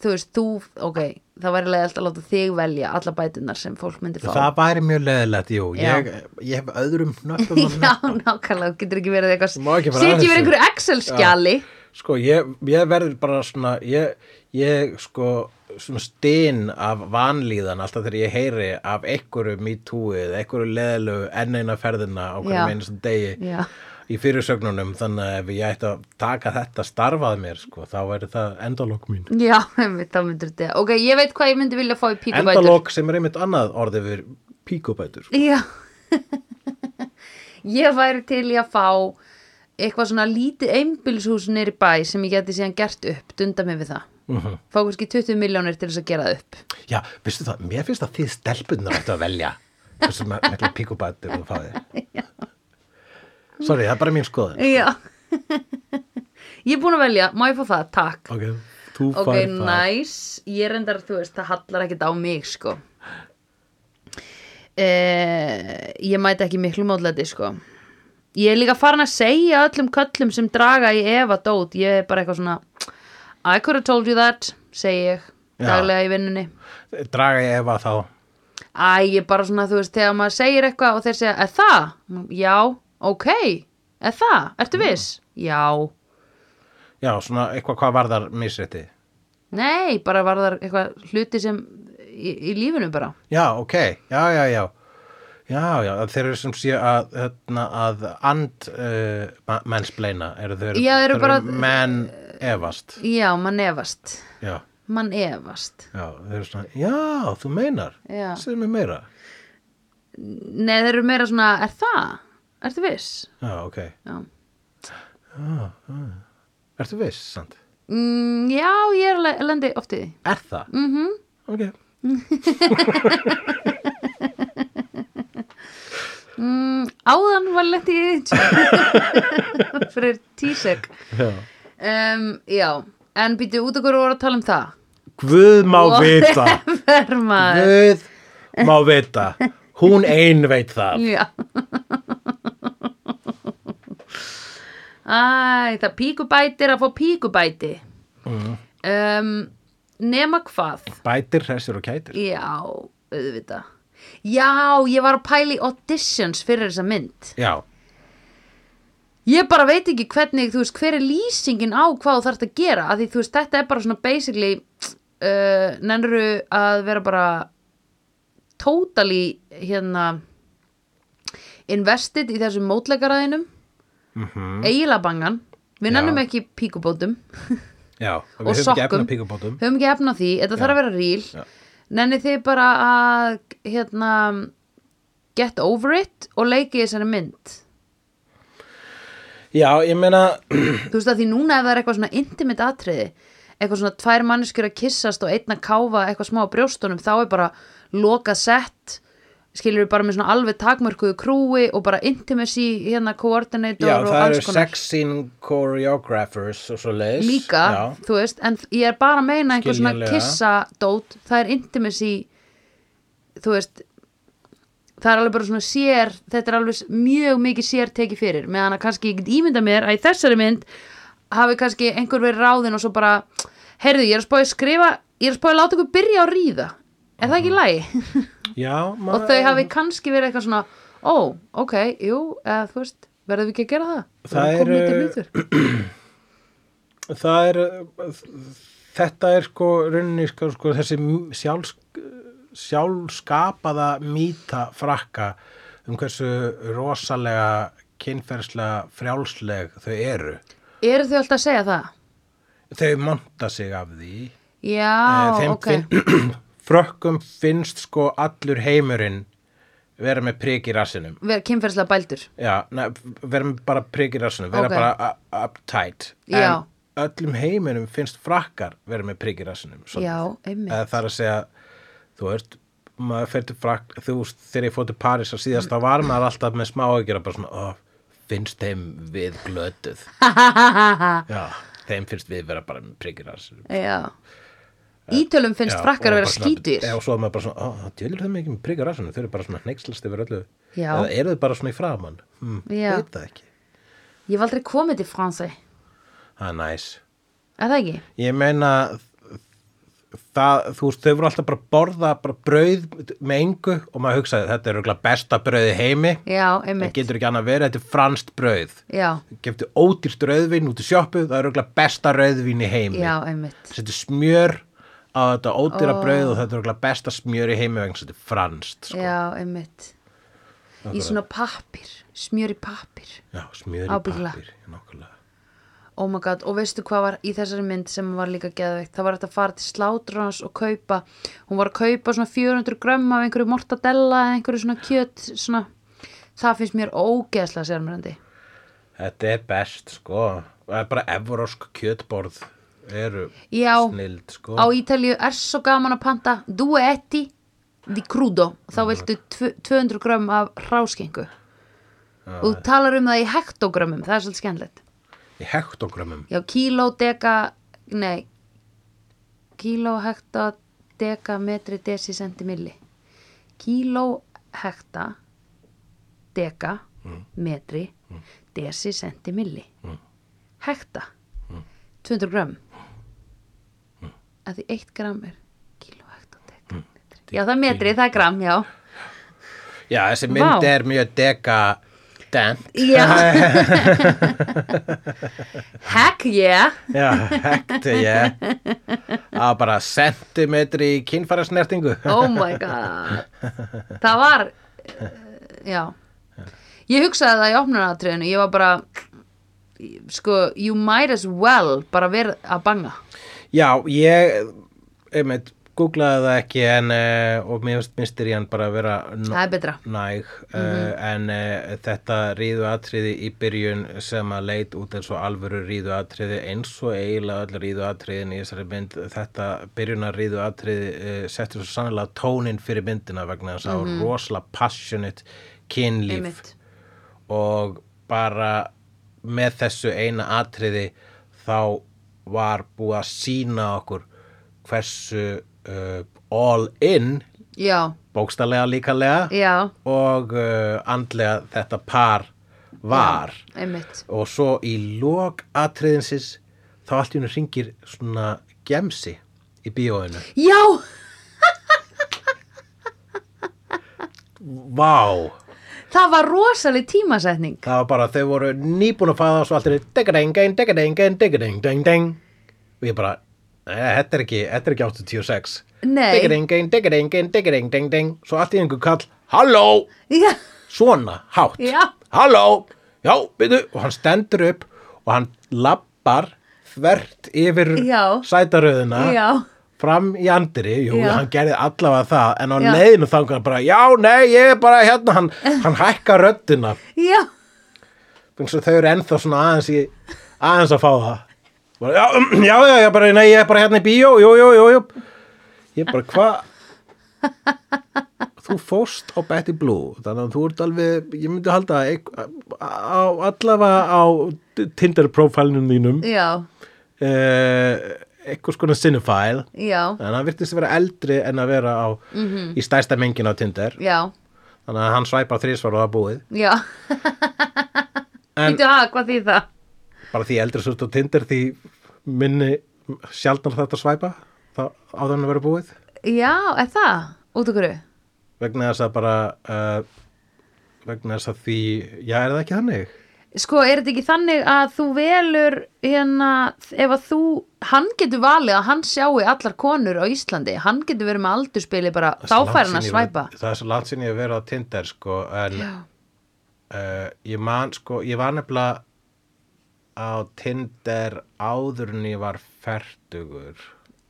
B: þú veist, þú, ok, það væri leið að láta þig velja alla bætunar sem fólk myndi fá.
A: Það væri mjög leðilegt, jú
B: Já.
A: ég, ég hef öðrum
B: (laughs)
A: nöppum að
B: (laughs) Já, nákvæmlega, þú getur ekki verið
A: Þú má
B: eitthvað
A: ekki fara
B: Sitjum
A: aðeins
B: við
A: í-
B: einhverju Excel-skjali
A: nöpp Sko, ég, ég verður bara svona ég, ég sko svona stinn af vanlíðan alltaf þegar ég heyri af einhverju mítúið, eða einhverju leðilegu enn eina ferðina á
B: Já.
A: hverjum einstu degi
B: Já. (laughs)
A: í fyrirsögnunum, þannig að ef ég ætti að taka þetta starfað mér, sko, þá væri það endalok mín
B: Já, einmitt, þá myndur þetta Ok, ég veit hvað ég myndi vilja fá í píkubætur
A: Endalok sem er einmitt annað orðið fyrir píkubætur.
B: Já (laughs) Ég væri til í að fá eitthvað svona lítið einbýlshús nýri bæ sem ég geti síðan gert upp, dunda mig við það
A: Mm
B: Fá kannski 20 miljónir til þess að gera það upp sko.
A: Já, veistu það, mér finnst að þið stelpunar ættu að velja þessum mikla píkubætur þú fáið. Sorry, það er bara mín skoðun.
B: Já (laughs) Ég er búin að velja, má ég fá það, takk
A: Ok, þú
B: Ok,
A: fær
B: næs,
A: það.
B: ég reyndar, þú veist, það hallar ekkert á mig, sko. Eh, ég mæti ekki miklu mótlæti, sko. Ég er líka farin að segja öllum köllum sem draga í Eva dót, ég er bara eitthvað svona, I could have told you that, segi ég,
A: Já.
B: daglega í vinnunni.
A: Draga ég efa þá.
B: Æ, ég er bara svona, þú veist, þegar maður segir eitthvað og þeir segja, er það? Já, ok, er það? Ertu viss? Já.
A: Já, svona eitthvað hvað varðar misrétti.
B: Nei, bara var það eitthvað hluti sem í, í lífinu bara.
A: Já, ok, já, já, já. Já, já, þeir eru sem sé að, hérna, að and uh, mennsbleina, eru þeir,
B: Já, eru bara-
A: menn efast.
B: Já, mann efast
A: Já,
B: mann efast
A: já, þeir eru svona, já, þú meinar,
B: Já.
A: segðu mér meira.
B: Nei, þeir eru meira svona, er það? Ertu viss?
A: Já, ok.
B: Já,
A: Ertu viss, sant?
B: mm, já ég er le- lendi oft í því
A: Er það?
B: mm -hmm.
A: Ok.
B: mm, Áðan var lendi í því (laughs) fyrir tísek
A: Já.
B: um, Já, en býtu út okkur voru að tala um það (laughs)
A: Guð má vita,
B: Whatever, maður
A: Guð má vita, hún ein veit það.
B: Já Æ, það píkubætir að fá píkubæti um, Nema hvað
A: Bætir, hressir og kætir.
B: Já, auðvitað Já, ég var að pæla í auditions fyrir þessa mynd
A: Já,
B: Ég bara veit ekki hvernig, þú veist, hver er lýsingin á hvað þú þarft að gera að því, þú veist, þetta er bara svona basically uh, nennru að vera bara totally hérna invested í þessum mótleikaræðinum
A: mhm,
B: eiginlega bangan við
A: Já.
B: nennum ekki píkubótum
A: já. Við
B: Og
A: höfum ekki
B: sokkum.
A: efna píkubótum.
B: höfum ekki efna því, þetta þarf að vera
A: Já.
B: real nenni þið bara að hérna get over it og leiki í þessari mynd
A: Já, ég meina...
B: þú veist að því núna ef það er eitthvað svona intimate atriði eitthvað svona tvær manneskjur að kyssast og einn að káfa eitthvað smá á brjóstunum þá er bara lokað sett skilur við bara með svona alveg takmörkuðu krúi og bara intimacy hérna coordinator
A: Já,
B: og
A: það eru
B: alls konar
A: sex scene choreographers og svo leiðis.
B: líka,
A: Já,
B: þú veist, en ég er bara að meina einhver svona
A: Skiljanlega.
B: kissa dót, það er intimacy þú veist, það er alveg bara svona sér þetta er alveg s- mjög mikið sér tekið fyrir meðan að kannski ég get ímynda mér að í þessari mynd hafi kannski einhver verið ráðin og svo bara, heyrðu, ég er að spáði skrifa ég er að spáði láta ykkur byrja að ríða er það ekki í lagi? (laughs)
A: já
B: og þau
A: Mm.
B: hafi kannski verið eitthvað svona ó, ok, jú, eða þú veist verðum við ekki að gera það?
A: Það
B: Við erum komin
A: eru-
B: út í hlutur.
A: það er þetta er sko rauninni sko, sko þessi sjálf, sjálfskapaða mýta frakka um hversu rosalega kynferðslega frjálsleg þau eru
B: eru þau alltaf að segja það?
A: þau monta sig af því
B: já,
A: Eh, þeim
B: ok
A: finn, (clears throat) frökkum finnst sko allur heimurinn vera með prik í rassinum
B: vera kynferðslega bældur
A: já, na, vera með bara prik í rassinum vera
B: Ok.
A: bara u- uptight
B: Já.
A: en öllum heiminum finnst frakkar vera með prik í rassinum svolítið.
B: Já, einmitt.
A: Eða það er að segja þú veist maður fer til frak, þú veist, þegar ég fór til París á síðast, þá var maður alltaf með smá aukjara bara svona, ó, finnst þeim við glötuð
B: (laughs)
A: já, þeim finnst við vera bara með prikir rassinum
B: já Ítölum finnst
A: eh, Já,
B: frakkar
A: og
B: að vera
A: bara svona-
B: skítur
A: Já, og svo er maður bara svona, ó, það djölir það mikið með prikar rassunum, þau eru bara svona hneikslast yfir öllu.
B: Já.
A: Eða eru þau bara svona í framann? Hm,
B: Já.
A: Veit það ekki.
B: Ég hef aldrei komið til Fransi
A: Það er næs.
B: Er það ekki?
A: Ég meina, það, þú veist, þau voru alltaf bara að borða bara brauð með engu og maður hugsaði, þetta er örugglega besta brauð í heimi.
B: Já,
A: Það
B: einmitt
A: getur ekki annað verið, þetta er franskt brauð.
B: Já,
A: Geftu ódýrt rauðvin út í sjoppu, það er örugglega besta rauðvin í heimi.
B: já, einmitt
A: Settu smjör á þetta ódýra brauð og þetta er örugglega besta smjör í heimi vegna þess að þetta er franskt. Sko.
B: Já, einmitt Í svona pappir, smjör í pappir
A: Já, smjör í
B: Ábyggilega.
A: pappir, nokkulega.
B: Oh my god, og veistu hvað var í þessari mynd sem var líka geðveikt, það var þetta að fara til slátrunars og kaupa, hún var að kaupa svona 400 grömm af einhverju mortadella eða einhverju svona kjöt, svona það finnst mér ógeðslega sérmjöndi
A: Þetta er best, sko. Það er bara evrósk kjötborð eru
B: Já,
A: snild, sko.
B: á Ítalíu er svo gaman að panta duetti di crudo þá viltu tvö- 200 grömm af ráskengu og þú talar um það í hektogrömmum það er svolítið skemmtilegt
A: Í hektogramum.
B: já, kíló, deka, nei kíló, hekta deka, metri, desi, sentimilli kíló, hekta deka metri, desi, sentimilli hekta 200 grömm að því 1 gram er kíló, hekta, deka, metri já, það er metri, það er gram, já
A: Já, þessi mynd
B: Vá.
A: er mjög dega dent.
B: já heck yeah
A: (laughs) Já, hekti, já. Á bara sentimetri í kynfærasnertingu.
B: oh my god það var eh, já ég hugsaði það í opnunaratriðinu ég var bara sko, you might as well bara verið að banga
A: Já, ég, einmitt, googlaði það ekki en, uh, og mér finnst mistir í hann bara að vera no-
B: það er betra
A: næg uh, en uh, þetta ríðu atriði í byrjun sem að leit út eins og alvöru ríðu atriði eins og eiginlega öll ríðu atriðin í þessari mynd þetta byrjunar ríðu atriði uh, settur svo sannlega tónin fyrir myndina vegna þess að mm rosalega passionate kynlíf
B: Einmitt.
A: og bara með þessu eina atriði þá var búið að sína okkur hversu uh, all in
B: já,
A: bókstallega líkalega
B: já,
A: og uh, andlega þetta par var
B: einmitt
A: og svo í lok atriðinsins þá allt í hennu ringir svona gemsi í bíóinu
B: já,
A: Vá,
B: það var rosaleg tímasetning
A: það var bara þau voru nýbúin að faða og svo allt í hennu degadeng, degadeng, degadeng, deng, deng og ég bara, eh, þetta er ekki þetta er ekki 86
B: Nei.
A: degadeng, degadeng, degadeng, deng, deng svo allt í hennu kall, halló
B: (laughs) já,
A: svona hátt
B: Já.
A: halló, já, byrju og hann stendur upp og hann lappar þvert yfir
B: Já.
A: sætaröðuna
B: Já.
A: fram í andri, jú,
B: Já.
A: hann gerði allavega það, en á
B: Já.
A: leiðinu þangar bara, já, nei, ég er bara hérna hann, hann hækkar röddina
B: já,
A: Þannig að þau eru ennþá svona aðeins í, aðeins að fá það bara, já, um, já, já, já, bara, nei, ég er bara hérna í bíó jú, jú, jú, jú ég bara, hvað þú fóst á Betty Blue þannig að þú ert alveg, ég myndi halda að eik- á, allavega á Tinder profilnum þínum eh,
B: já,
A: eitthvað skona cinephile
B: já
A: en hann virtist að vera eldri en að vera á, í stærsta mengin á Tinder
B: já,
A: þannig að hann svæpar þrísvar og það er búið
B: já
A: en
B: Býtu að, hvað því það?
A: bara því eldri sérst og tindir því minni sjaldnar þetta svæpa þá á þannig að vera búið
B: Já, er það? Út okkur?
A: vegna þess að bara uh, vegna þess að því já er það ekki þannig
B: Sko, er þetta ekki þannig að þú velur hérna, ef að þú hann getur valið að hann sjáu allar konur á Íslandi, hann getur verið með aldurspili bara,
A: Það er
B: þá
A: svo
B: fær hann
A: langt
B: að
A: síðan ég-
B: svæpa
A: það er svo langt sinni að vera á tindir sko en
B: Já,
A: uh, ég man sko, ég var nefnilega á Tinder áður en ég var fertugur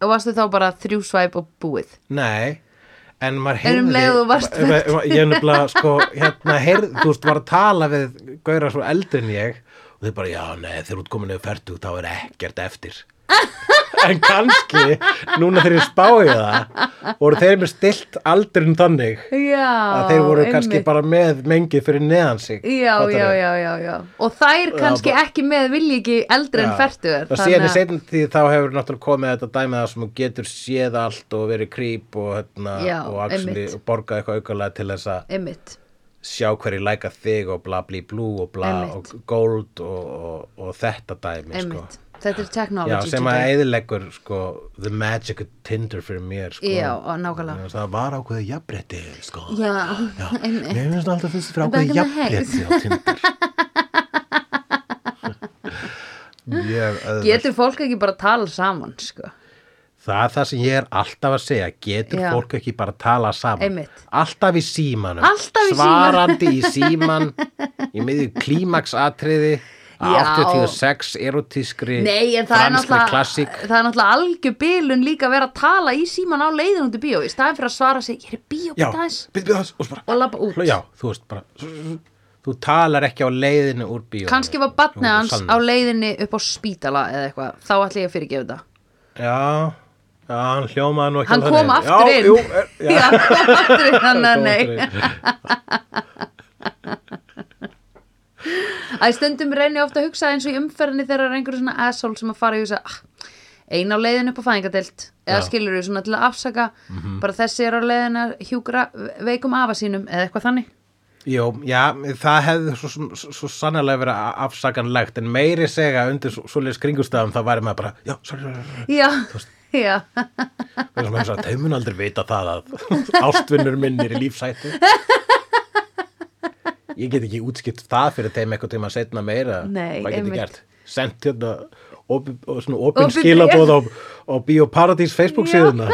B: og varstu þá bara þrjú svæp og búið
A: nei en maður
B: En
A: heyrði
B: um leið og þú varst
A: Ma- ma- ma- ég er nefnilega sko, hérna heyrði, þú veist, var að tala við gauðra svo eldri en ég og þau bara, já, nei, þegar þú ert komin yfir fertug þá er ekkert
B: (laughs)
A: eftir en kannski, núna þegar ég spáði það voru þeir mér stilt aldurinn þannig
B: Já,
A: að þeir voru kannski
B: einmitt.
A: bara með mengið fyrir neðan sig
B: Já,
A: Fattarðu?
B: já, já, já, já Og þær kannski
A: bara-
B: ekki með vilji ekki eldri en færtugur
A: og síðan í seinni tíð þá hefur náttúrulega komið þetta dæmið það sem hún getur séð allt og verið krýp og, hérna,
B: Já,
A: og, axli,
B: einmitt.
A: og borgað eitthvað aukarlega til þess að
B: Einmitt
A: Sko. sjá hverju læka þig og bla blí blú og bla
B: Einmitt.
A: og gold og, og, og þetta dæmi sko.
B: Einmitt, þetta er
A: Já,
B: technology
A: sem að
B: today.
A: eðileggur sko, the magic of Tinder fyrir mér sko.
B: Já, og nákvæmlega.
A: Mér finnst það var ákveðið jafnbretti sko.
B: Já,
A: Já,
B: (laughs) einmitt
A: mér finnst alltaf fyrst fyrir
B: Back in the
A: ákveðið jafnbretti á
B: (laughs)
A: Tinder (laughs) Mjög öðvöld
B: Getur fólk ekki bara að tala saman, sko
A: Það er það sem ég er alltaf að segja, getur
B: Já.
A: fólk ekki bara að tala saman?
B: Einmitt.
A: Alltaf í símanum.
B: Alltaf í
A: Svarandi í síman, í miðju klímaksatriði,
B: Já.
A: 86 erotískri,
B: Nei, en það er
A: franskri
B: náttúrulega
A: klassík.
B: Það er náttúrulega algjör bilun líka að vera að tala í síman á leiðin út í bíó Í staðin fyrir að svara sig, ég er í bíó
A: Já,
B: bíddu aðeins."
A: byrðu þess og svo bara.
B: Og labba út.
A: Já, þú veist bara, þú talar ekki á leiðinu úr bíó.
B: Kannski var batnið hans á leiðinni upp á spítala eða eitthvað Þá ætla ég að fyrirgefa þetta
A: Já, já, hann hljómaði nú ekki
B: Hann
A: alveg
B: kom
A: þannig.
B: aftur
A: já,
B: inn (laughs)
A: Jú, er, já,
B: Já, hann kom aftur inn, hann að
A: kom aftur
B: nei
A: inn.
B: Æ, stundum reyni ég ofta að hugsa eins og í umferðinni þegar er einhverjum svona asshole sem að fara í hugsa ah, ein á leiðin upp á fæðingadelt eða
A: Já. Mhm.
B: skilur við svona til að afsaka bara þessi er á leiðin að hjúgra veikum afa sínum eða eitthvað þannig
A: Jó, já, það hefði svo, svo, svo sannlega verið a- afsakanlegt en meiri segja undir svo, svoleiðis kringustafum þá væri maður bara, já, sorry, sorry, sorry
B: Já, já, (laughs)
A: vegna sem hefði sagt, þau mun aldrei vita það að (laughs) ástvinnur minn er í lífsættu Ég get ekki útskipt það fyrir þeim eitthvað tíma setna meira
B: Nei,
A: Hvað get
B: einmitt.
A: ég gert? Sent hérna opin, og svona opin
B: Opin
A: skilabóð á, á Bíóparadís Facebook síðuna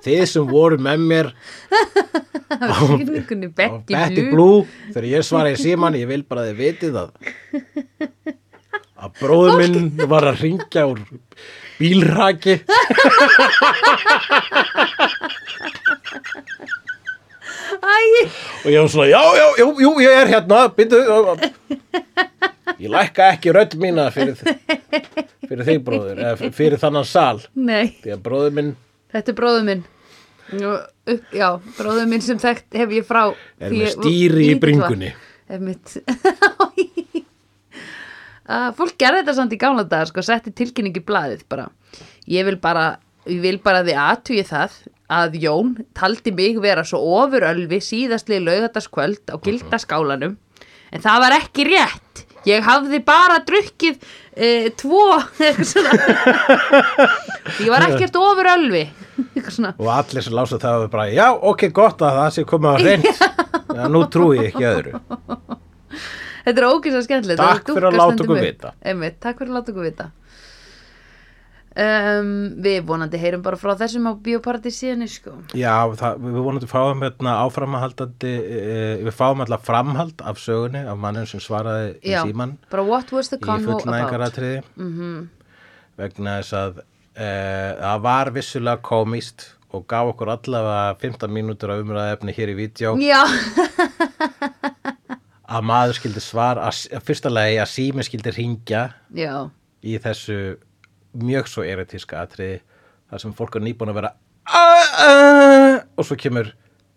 A: Þið sem voru með mér
B: kynningunni
A: og
B: Betty,
A: Betty Blue þegar ég svara í síman ég vil bara að þið vitið að að bróður minn var að ringja úr bílraki
B: Æ,
A: og ég var svona já, já, jú, jú, ég er hérna byndu, ég lækka ekki rödd mína fyrir, fyrir þig bróður eða fyrir þannan sal
B: nei,
A: því að bróður minn
B: þetta er bróður minn Nú, upp, Já, bróður minn sem þekkt hef ég frá
A: er
B: því
A: með
B: ég
A: stýri í
B: lítill var.
A: bringunni
B: Ef (laughs) mitt uh, Fólk gerði þetta samt í gamla daga sko, setti tilkynningi blaðið bara Ég vil bara, ég vil bara að þið aðtugi það að Jón taldi mig vera svo ofurölvi síðastlið laugataskvöld á gildaskálanum en það var ekki rétt Ég hafði bara drukkið e, tvo eitthvað svona (laughs) Ég var ekkert ofurölvi (laughs) eitthvað svona
A: og allir sem lása það var bara já, ok, gott að það sé komið að reynd já, nú trúi ég ekki öðru
B: Þetta er ógeðslega skemmtilegt
A: Takk
B: Þessi
A: fyrir að
B: dúkka
A: láta
B: stendur
A: okkur
B: upp.
A: vita.
B: Einmitt, Takk fyrir að láta okkur vita um, Við vonandi heyrum bara frá þessum á bioparti síðan sko.
A: Já, það, við vonandi fáum hérna áframhaldandi, eh, við fáum alltaf framhald af sögunni, af mannum sem svaraði í
B: Já,
A: síman
B: bara what was the
A: í
B: convo about Mhm.
A: fullnæðingaratriði mm -hmm. vegna þess að eh, það var vissulega komist og gaf okkur allavega 15 mínútur af umræða efni hér í vídeo
B: Já, (laughs)
A: að maður skildi svar, að, s- að fyrsta lagi að sími skildi ringja
B: já,
A: í þessu mjög svo erotíska atriði þar sem fólk er nýbúin að vera "Ah, ah," og svo kemur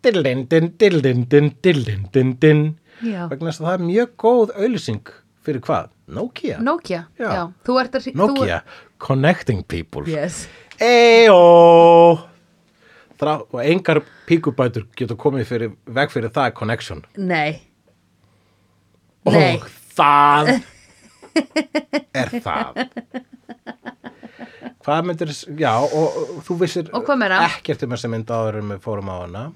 A: dillindin, dillindin, dillindin din.
B: Já.
A: vegna þess að það er mjög góð auðlýsing fyrir hvað? Nokia?
B: Nokia
A: Já.
B: Þú ert að hring- þú-
A: Nokia, connecting people
B: Yes
A: Eyjó þrá, og engar píkubætur getur komið fyrir, veg fyrir það connection
B: Nei, Nei.
A: og það
B: (laughs)
A: er það hvað myndir já og, og þú vissir
B: Og hvað meira?
A: ekkert um þessa mynd áður en við fórum á hana uh,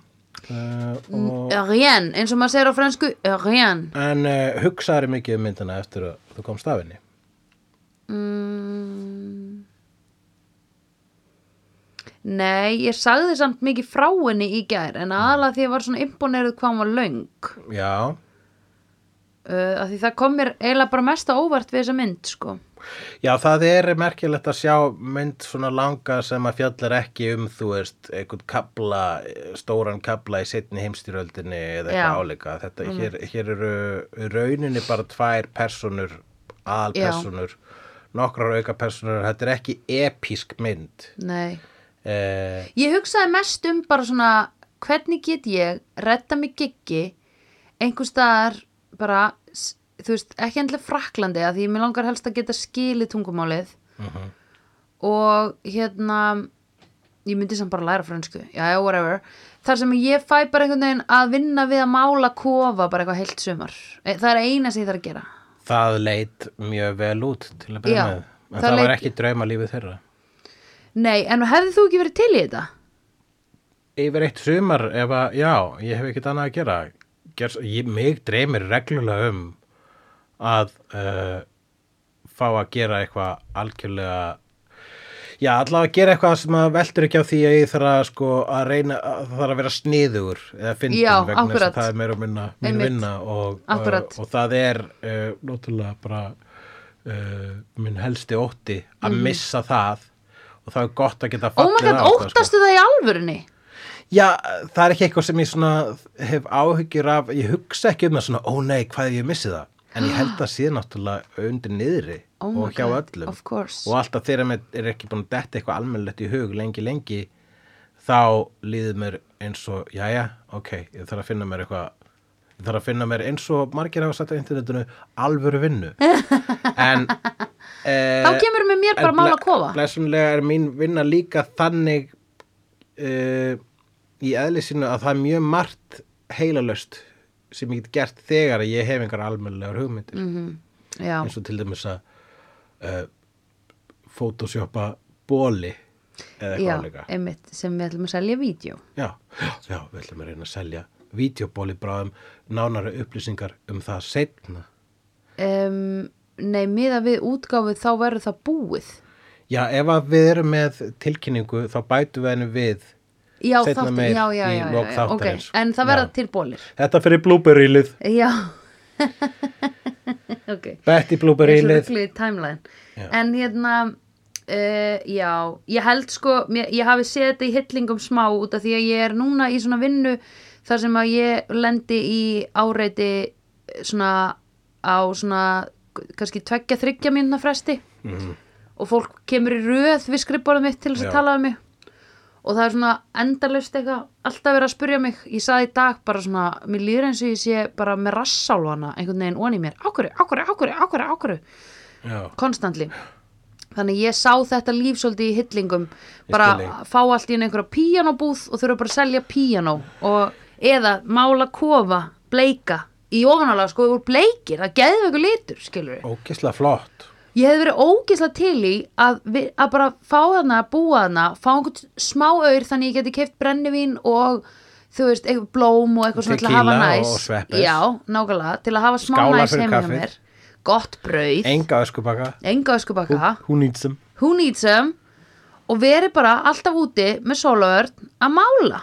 B: Mm.
A: og,
B: rien, eins og maður segir á fransku, rien.
A: en uh, hugsaður mikið um myndina eftir að þú komst af henni
B: Mm. Nei, ég sagði samt mikið frá henni í gær en aðalega því ég var svona imponeruð hvað hún var löng uh,
A: já,
B: að því það kom mér eiginlega bara mest á óvart við þessa mynd sko.
A: Já, það er merkilegt að sjá mynd svona langa sem að fjallar ekki um, þú veist, einhvern kabla, stóran kabla í setni heimstyröldinni
B: Já.
A: eða
B: Mhm.
A: eitthvað áleika. Þetta, hér, hér eru í rauninni bara tvær personur, aðalpersonur, nokkrar auka personur. Þetta er ekki episk mynd.
B: Nei
A: Eh,
B: Ég hugsaði mest um bara svona hvernig get ég retta mig giggi einhvers staðar bara, s- þú veist, ekki endilega fraklandi að því mér langar helst að geta skilið tungumálið
A: Uh-huh.
B: og hérna ég myndi samt bara læra frönsku, já, já, whatever þar sem ég fæ bara einhvern veginn að vinna við að mála kofa bara eitthvað heilt sumar E- það er eina sem ég þarf að gera
A: það leit mjög vel út til að byrja
B: Já,
A: með. En
B: það
A: það, var
B: leit-
A: ekki drauma lífið þeirra.
B: Nei, en hefði þú ekki verið til í þetta?
A: yfir eitt sumar ef að, já, ég hef ekkert annað að gera Gers, ég, mig dreymir reglulega um að uh, fá að gera eitthvað algjörlega já, allavega að gera eitthvað sem að veltur ekki á því að ég þarf að sko að reyna að það þarf að vera sniður eða fyndin
B: Já,
A: vegna þess
B: akkurat.
A: að það er meira að minna mín
B: Einmitt.
A: vinna og, uh,
B: Akkurat.
A: og það er uh, náttúrulega bara uh, minn helsti ótti að missa það og það er gott að geta
B: Mhm. Oh my
A: fallið
B: god,
A: á það, sko.
B: óttastu það í alvörunni?
A: Já, það er ekki eitthvað sem ég svona hef áhyggjur af, ég hugsa ekki um það svona, ó nei, hvað ef ég missi það? En ég held að sé náttúrulega undir niðri
B: Oh my
A: og hjá
B: God,
A: öllum.
B: of course.
A: Og alltaf þegar mér er ekki búin að detta eitthvað almennlegt í hug lengi, lengi, þá líður mér eins og, jæja, ok, ég þarf að finna mér eitthvað, ég þarf að finna mér eins og margir hafa sagt á internetinu, alvöru
B: (laughs)
A: vinnu. En, eh,
B: Þá kemur með mér bara að mála kofa
A: blessunlega er mín vinna líka þannig uh, í eðli sínu að það er mjög margt heilalöst sem ég get gert þegar að ég hef einhver almennilegar hugmyndir
B: Mm, Mhm. Já,
A: eins og til dæmis að uh, photoshoppa bóli
B: já,
A: eða eitthvað áleika
B: einmitt sem við ætlum að selja vídeo
A: já, já, við ætlum að reyna að selja vídeobóli bráðum nánari upplýsingar um það setna
B: um, Nei, miða við útgáfið þá verður það búið
A: já, ef að við erum með tilkynningu þá bætum við henni við
B: Já,
A: Seinna
B: þátt,
A: meir
B: já, já,
A: í
B: já, já,
A: lok
B: já, ok
A: þáttarins.
B: En það verða
A: Já.
B: til bólir
A: Þetta fyrir blúberílið,
B: Já (laughs) Ok Ég er
A: Betty
B: svo
A: blúberílið.
B: rugluð í timeline
A: Já.
B: En hérna uh, Já, ég held sko mér, Ég hafi séð þetta í hillingum smá út af því að ég er núna í svona vinnu þar sem að ég lendi í áreiti eh, svona á svona kannski tveggja þryggja mínuna fresti og fólk kemur í röð við skrifbóðum mitt til þess
A: Já.
B: að tala um mig og það er svona endalaust eitthvað alltaf verið að spyrja mig, ég saði í dag bara svona, mér líður eins og ég sé bara með rassálvana einhvern veginn onni í mér ákvöru, ákvöru, ákvöru, ákvöru, ákvöru
A: Já,
B: konstantli þannig ég sá þetta líf svolítið í hillingum bara
A: skil þig.
B: fá allt í einu einhverja píanóbúð og þurfa bara að selja píanó og eða mála kofa bleika í ofanalega sko úr bleikir, það geðum eitthvað litur skilur við
A: ókislega flott.
B: Ég hefði verið ógislega til í að, vi, að bara fá þarna, búa þarna, fá einhvern smá auður þannig ég geti keift brennivín og þú veist, eitthvað blóm og eitthvað svona til að hafa
A: Tequila
B: næs.
A: og sveppes.
B: Já, nákvæmlega, til að hafa smá
A: Skála
B: næs
A: fyrir
B: heima hjá
A: kaffið.
B: mér. Gott brauð,
A: Enga öskubaka.
B: enga öskubakka,
A: Who needs them?
B: who needs them og verið bara alltaf úti með sólaörn að mála.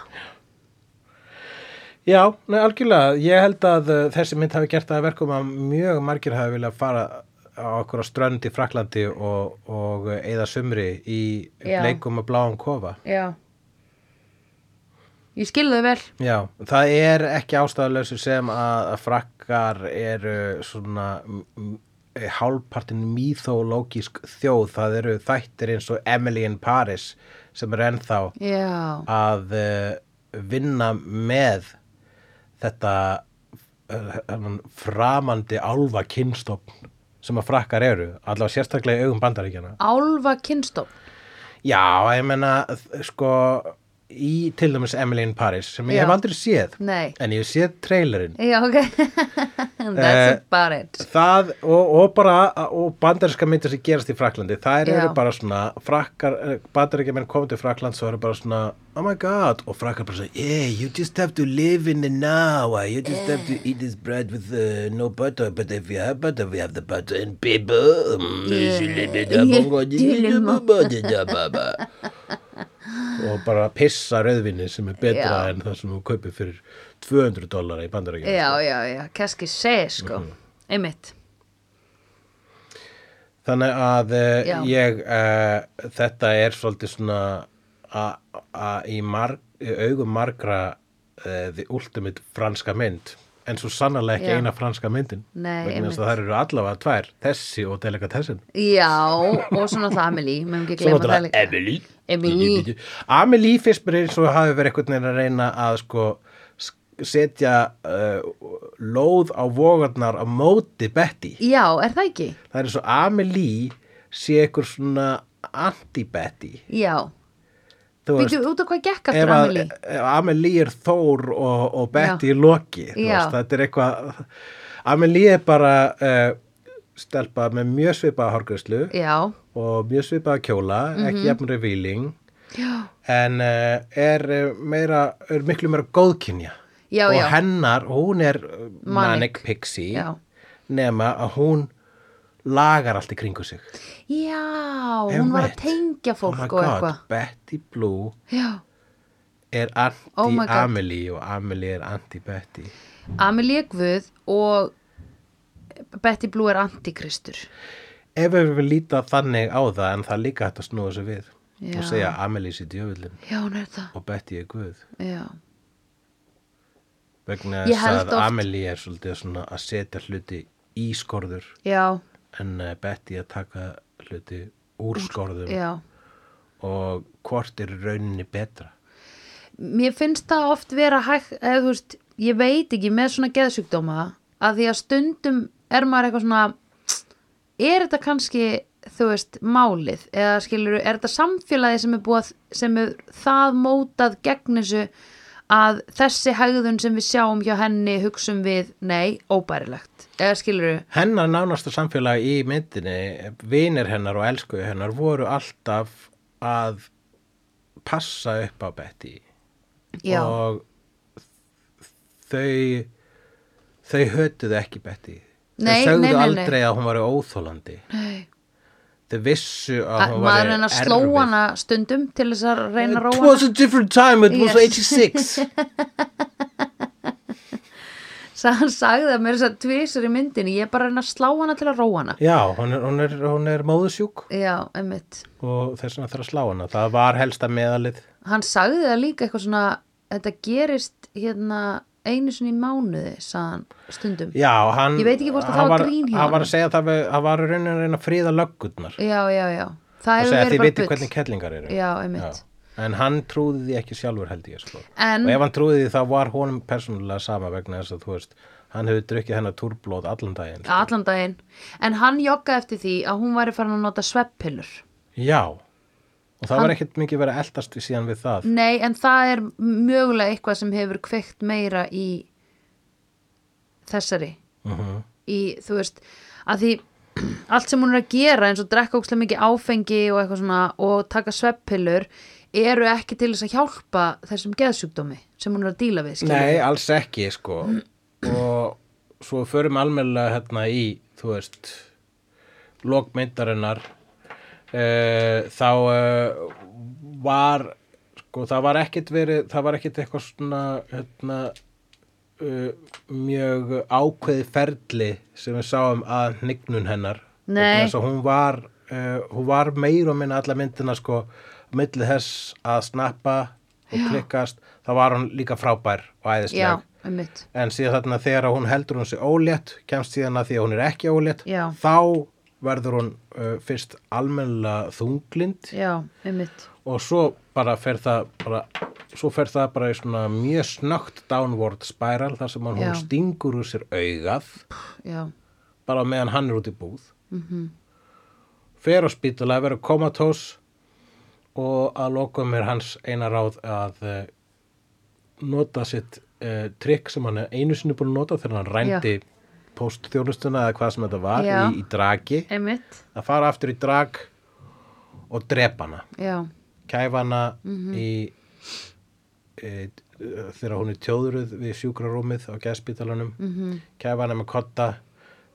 A: Já, nei, algjörlega. Ég held að uh, þessi mynd hafi gert það að verkum að mjög margir hafi viljað fara á okkur á strönd í Fraklandi og, og uh, eyða sumri í
B: Já.
A: bleikum og bláum kofa.
B: Já. Ég skilði þau vel.
A: Já, það er ekki ástæðalösu sem að, að frakkar eru svona m- m- hálfpartin mýþólógísk þjóð. Það eru þættir eins og Emily in Paris sem eru ennþá
B: Já,
A: að eh, vinna með þetta eh, þennan framandi álfa kynstofn sem að frakkar eru, allavega sérstaklega í augum bandaríkjana.
B: álfa kynstofn.
A: Já, ég meina, þ- sko, í til dæmis Emily in Paris sem ég
B: Já.
A: hef aldrei séð
B: Nei.
A: en ég hef séð trailerinn
B: Já, ok. (laughs)
A: Eh.
B: That's about it.
A: það og, og bara og bandarinska myndir sem gerast í Fraklandi þær
B: Já.
A: eru bara svona frakkar, bandarinska menn komið til Frakland svo eru bara svona oh my god og frakkar bara svona yeah you just have to live in the now you just have
B: Eh.
A: to eat this bread with uh, no butter but if you have butter we have the butter and paper mm,
B: Yeah. (laughs)
A: (laughs) og bara pissa rauðvinni sem er betra
B: Já.
A: en það sem þú kaupir fyrir 200 dollara í sko. bandarinska
B: Já, já, já. Kanski segi, sko.
A: Mhm.
B: Einmitt.
A: Þannig að eh,
B: Já.
A: ég, uh, þetta er svolítið svona a- að í marg, í augum margra uh, the ultimate franska mynd en svo sannarlega ekki
B: Já.
A: eina franska myndin
B: Nei,
A: vegna
B: einmitt.
A: þess að það eru allavega tvær þessi og delikatessin
B: Já, og svona það Amelie, meðum ekki
A: Svo
B: glemma það
A: náttúrulega
B: líka.
A: Emily
B: Emily.
A: Amelie fyrst mér eins og hafi verið einhvern veginn að reyna að sko sk- setja uh, lóð á vogarnar á móti Betty
B: Já, er það ekki?
A: það er eins og Amelie sé einhver svona anti-Betty
B: Já.
A: þú
B: Býtu út á hvað gekk
A: ef
B: aftur
A: að-
B: Amelie?
A: ef Amelie er Þór og, og Betty í Loki þú
B: Já.
A: veist, þetta er eitthvað Amelie er bara uh, stelpa með mjög svipaða hárgræslu
B: Já, Mhm.
A: og mjög svipaða kjóla ekki jafnri výling
B: já,
A: en uh, er, eh, meira, er miklu meira góðkynja
B: Já,
A: og
B: já.
A: hennar, hún er eh, manic,
B: Manic.
A: pixie
B: Já.
A: nema að hún lagar allt í kringu sig
B: já, hún var að
A: Einmitt.
B: tengja
A: Oh
B: fólk
A: my
B: og
A: God,
B: eitthvað.
A: Betty Blue
B: Já,
A: er
B: Oh my God.
A: anti-Amelie og Amelie er anti-Betty
B: Amelie er Guð og Betty Blue er antikristur.
A: ef við viljum líta þannig á það en það er líka hægt að snúa þessu við
B: Já.
A: og segja Amelie sé djöfullin
B: Já, hún er það.
A: og Betty er guð
B: Já,
A: vegna
B: Ég
A: þess
B: held
A: að
B: oft-
A: Amelie er svolítið svona að setja hluti í skorður
B: já,
A: en eh, Betty að taka hluti úr skorðum
B: já.
A: og hvort er í rauninni betra
B: Mér finnst það oft vera hægt, eða þú veist, ég veit ekki með svona geðsjúkdóma að því að stundum er maður eitthvað svona, er þetta kannski, þú veist, málið eða skilur, er þetta samfélagi sem er búið, að- sem er það mótað gegn þessu að þessi hegðun sem við sjáum hjá henni hugsum við, nei, óbærilegt eða skilur,
A: hennar nánasta samfélag í myndinni vinir hennar og elsku hennar voru alltaf að passa upp á Betty
B: já,
A: og þau þau hötuðu ekki Betty
B: Nei,
A: þau sögðu
B: nei, nei, nei.
A: aldrei að hún var óþólandi
B: nei,
A: þau vissu að
B: að
A: hún Eh, var
B: maður reyna að sló hana stundum til þess að reyna að
A: It
B: róa hana (laughs)
A: was a different time, it was
B: Yes.
A: 86
B: (laughs) Sa- hann sagði það mér þess að tvisur í myndinni ég er bara að reyna að slá hana til að róa hana
A: Já, hún er, hún er, hún er móðusjúk
B: já, einmitt
A: og þess vegna þarf að slá hana það var helsta meðalið
B: hann sagði það líka eitthvað svona þetta gerist hérna einu sinni í mánuði sagðan stundum
A: Já, hann,
B: Ég veit ekki hvort að
A: hann
B: það var grín hjá
A: Hann var
B: honum.
A: að segja það, við- hann var í rauninni að reyna að fríða löggurnar
B: já, já, já. það
A: og
B: hefur
A: segja
B: verið
A: þið
B: bara
A: veitir
B: bull.
A: hvernig kellingar eru
B: já, einmitt
A: En hann trúði því ekki sjálfur held ég sko.
B: En-
A: og ef hann trúði því þá var honum persónulega sama vegna þess að þú veist hann hefur drukkið hennar túrblóð allan daginn
B: allan daginn en hann joggaði eftir því að hún væri farin að nota sveppillur
A: Já, og það var ekkert mikið verið að eldast við síðan við það
B: nei, en það er mögulega eitthvað sem hefur kveikt meira í þessari
A: uh
B: í, þú veist, að því (clears throat) allt sem hún er að gera eins og drekka ókslega mikið áfengi og eitthvað svona og taka sveppillur eru ekki til þess að hjálpa þessum geðsjúkdómi sem hún er að díla við, skilur.
A: Nei, alls ekki sko og svo förum almennilega hérna í, þú veist lokmyndarinnar uh, þá uh, var sko, það var ekkit verið, það var ekkit eitthvað svona hérna uh, mjög ákveði ferli sem við sáum að hnignun hennar
B: Nei.
A: Vegna þess að hún var uh, hún var meir og minna alla myndina sko, milli þess að snappa og klikkast, þá var hún líka frábær og
B: Já,
A: æðisleg
B: um
A: en síðan þarna þegar hún heldur hún sig ólétt kemst síðan að því að hún er ekki ólétt
B: Já.
A: þá verður hún uh, fyrst almennilega þunglind
B: Já, um
A: og svo bara fer það bara, svo fer það bara í svona mjög snögt downward spiral þar sem hún
B: Já.
A: stingur úr sér augað
B: Já,
A: bara á meðan hann er út í búð mm -hmm. fer á spítala verður komatós og að lokum er hans eina ráð að uh, nota sitt uh, trikk sem hann er einu sinni búin að nota þegar hann rændi póstþjónustuna eða hvað sem þetta var
B: Já.
A: í, í dragi
B: einmitt,
A: að fara aftur í drag og drepa hana
B: já,
A: kæfa hana
B: Mhm.
A: í e, þegar hún er tjóðruð við sjúkrarúmið á geðspítalanum
B: Mhm.
A: -hmm. kæfa hana með kotta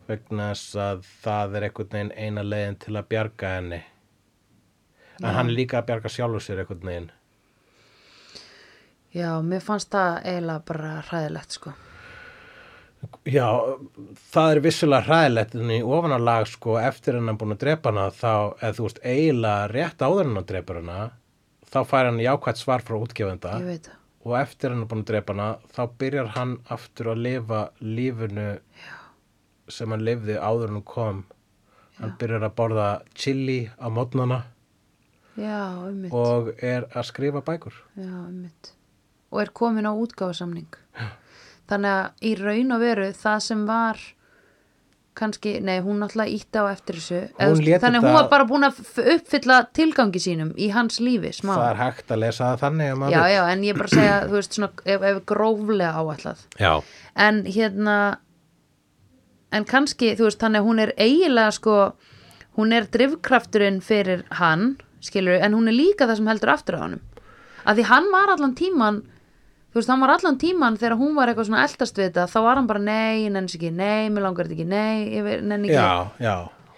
A: vegna þess að það er einhvern veginn eina leiðin til að bjarga henni en hann er líka að bjarga sjálfur sér einhvern veginn
B: já, mér fannst það eiginlega bara hræðilegt sko
A: já, það er vissulega hræðilegt en í ofanalag sko eftir hann er búin að drepa hana þá, eða þú veist, eiginlega rétt áður en hann drepur hana þá fær hann jákvætt svar frá útgefenda
B: ég veit það,
A: og eftir hann er búin að drepa hana þá byrjar hann aftur að lifa lífinu Já. sem hann lifði áður en hún kom hann byrjar að borða chili á mótnana
B: já, einmitt
A: og er að skrifa bækur
B: já, einmitt og er komin á útgáfasamning þannig að í raun og veru það sem var kannski, nei, hún náttúrulega ítti á eftir þessu Eða, þú
A: lét
B: veist, þannig að hún
A: þetta-
B: var bara búin að f- uppfylla tilgangi sínum í hans lífi, smá
A: það er hægt að lesa það þannig um
B: já, já, en ég bara segja, þú veist, svona ef, ef gróflega áætlað
A: Já.
B: en hérna en kannski, þú veist, þannig að hún er eiginlega sko, hún er drifkrafturinn fyrir hann, skilur en hún er líka það sem heldur aftur á honum að því hann var allan tíman þú veist, hann var allan tíman þegar hún var eitthvað svona eldast við þetta, þá var hann bara nei, ég nenni ekki nei, mér langar þetta ekki, nei, ég ver- nenni ekki
A: Já, já.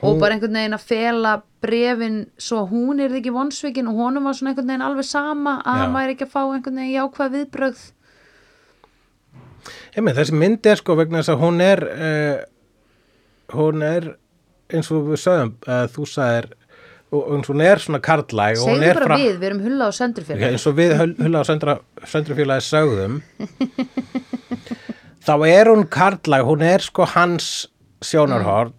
B: og bara einhvern veginn að fela brefin svo hún er ekki vonsvikin og honum var svona einhvern veginn alveg sama að
A: Já.
B: hann væri ekki að fá einhvern veginn jákvæð viðbrögð
A: Einmitt, þessi mynd er sko vegna þess að hún er uh, hún er eins og við sögum uh, þú sagðir og og eins og hún er svona karlæg og hún
B: segðu
A: er
B: bara
A: fra-
B: við, við erum hulla og sendur
A: Ok,
B: fyrir
A: eins og við Hull- Hulla og Söndra, Söndrufélagi sögðum þá er hún karlæg hún er sko hans sjónarhorn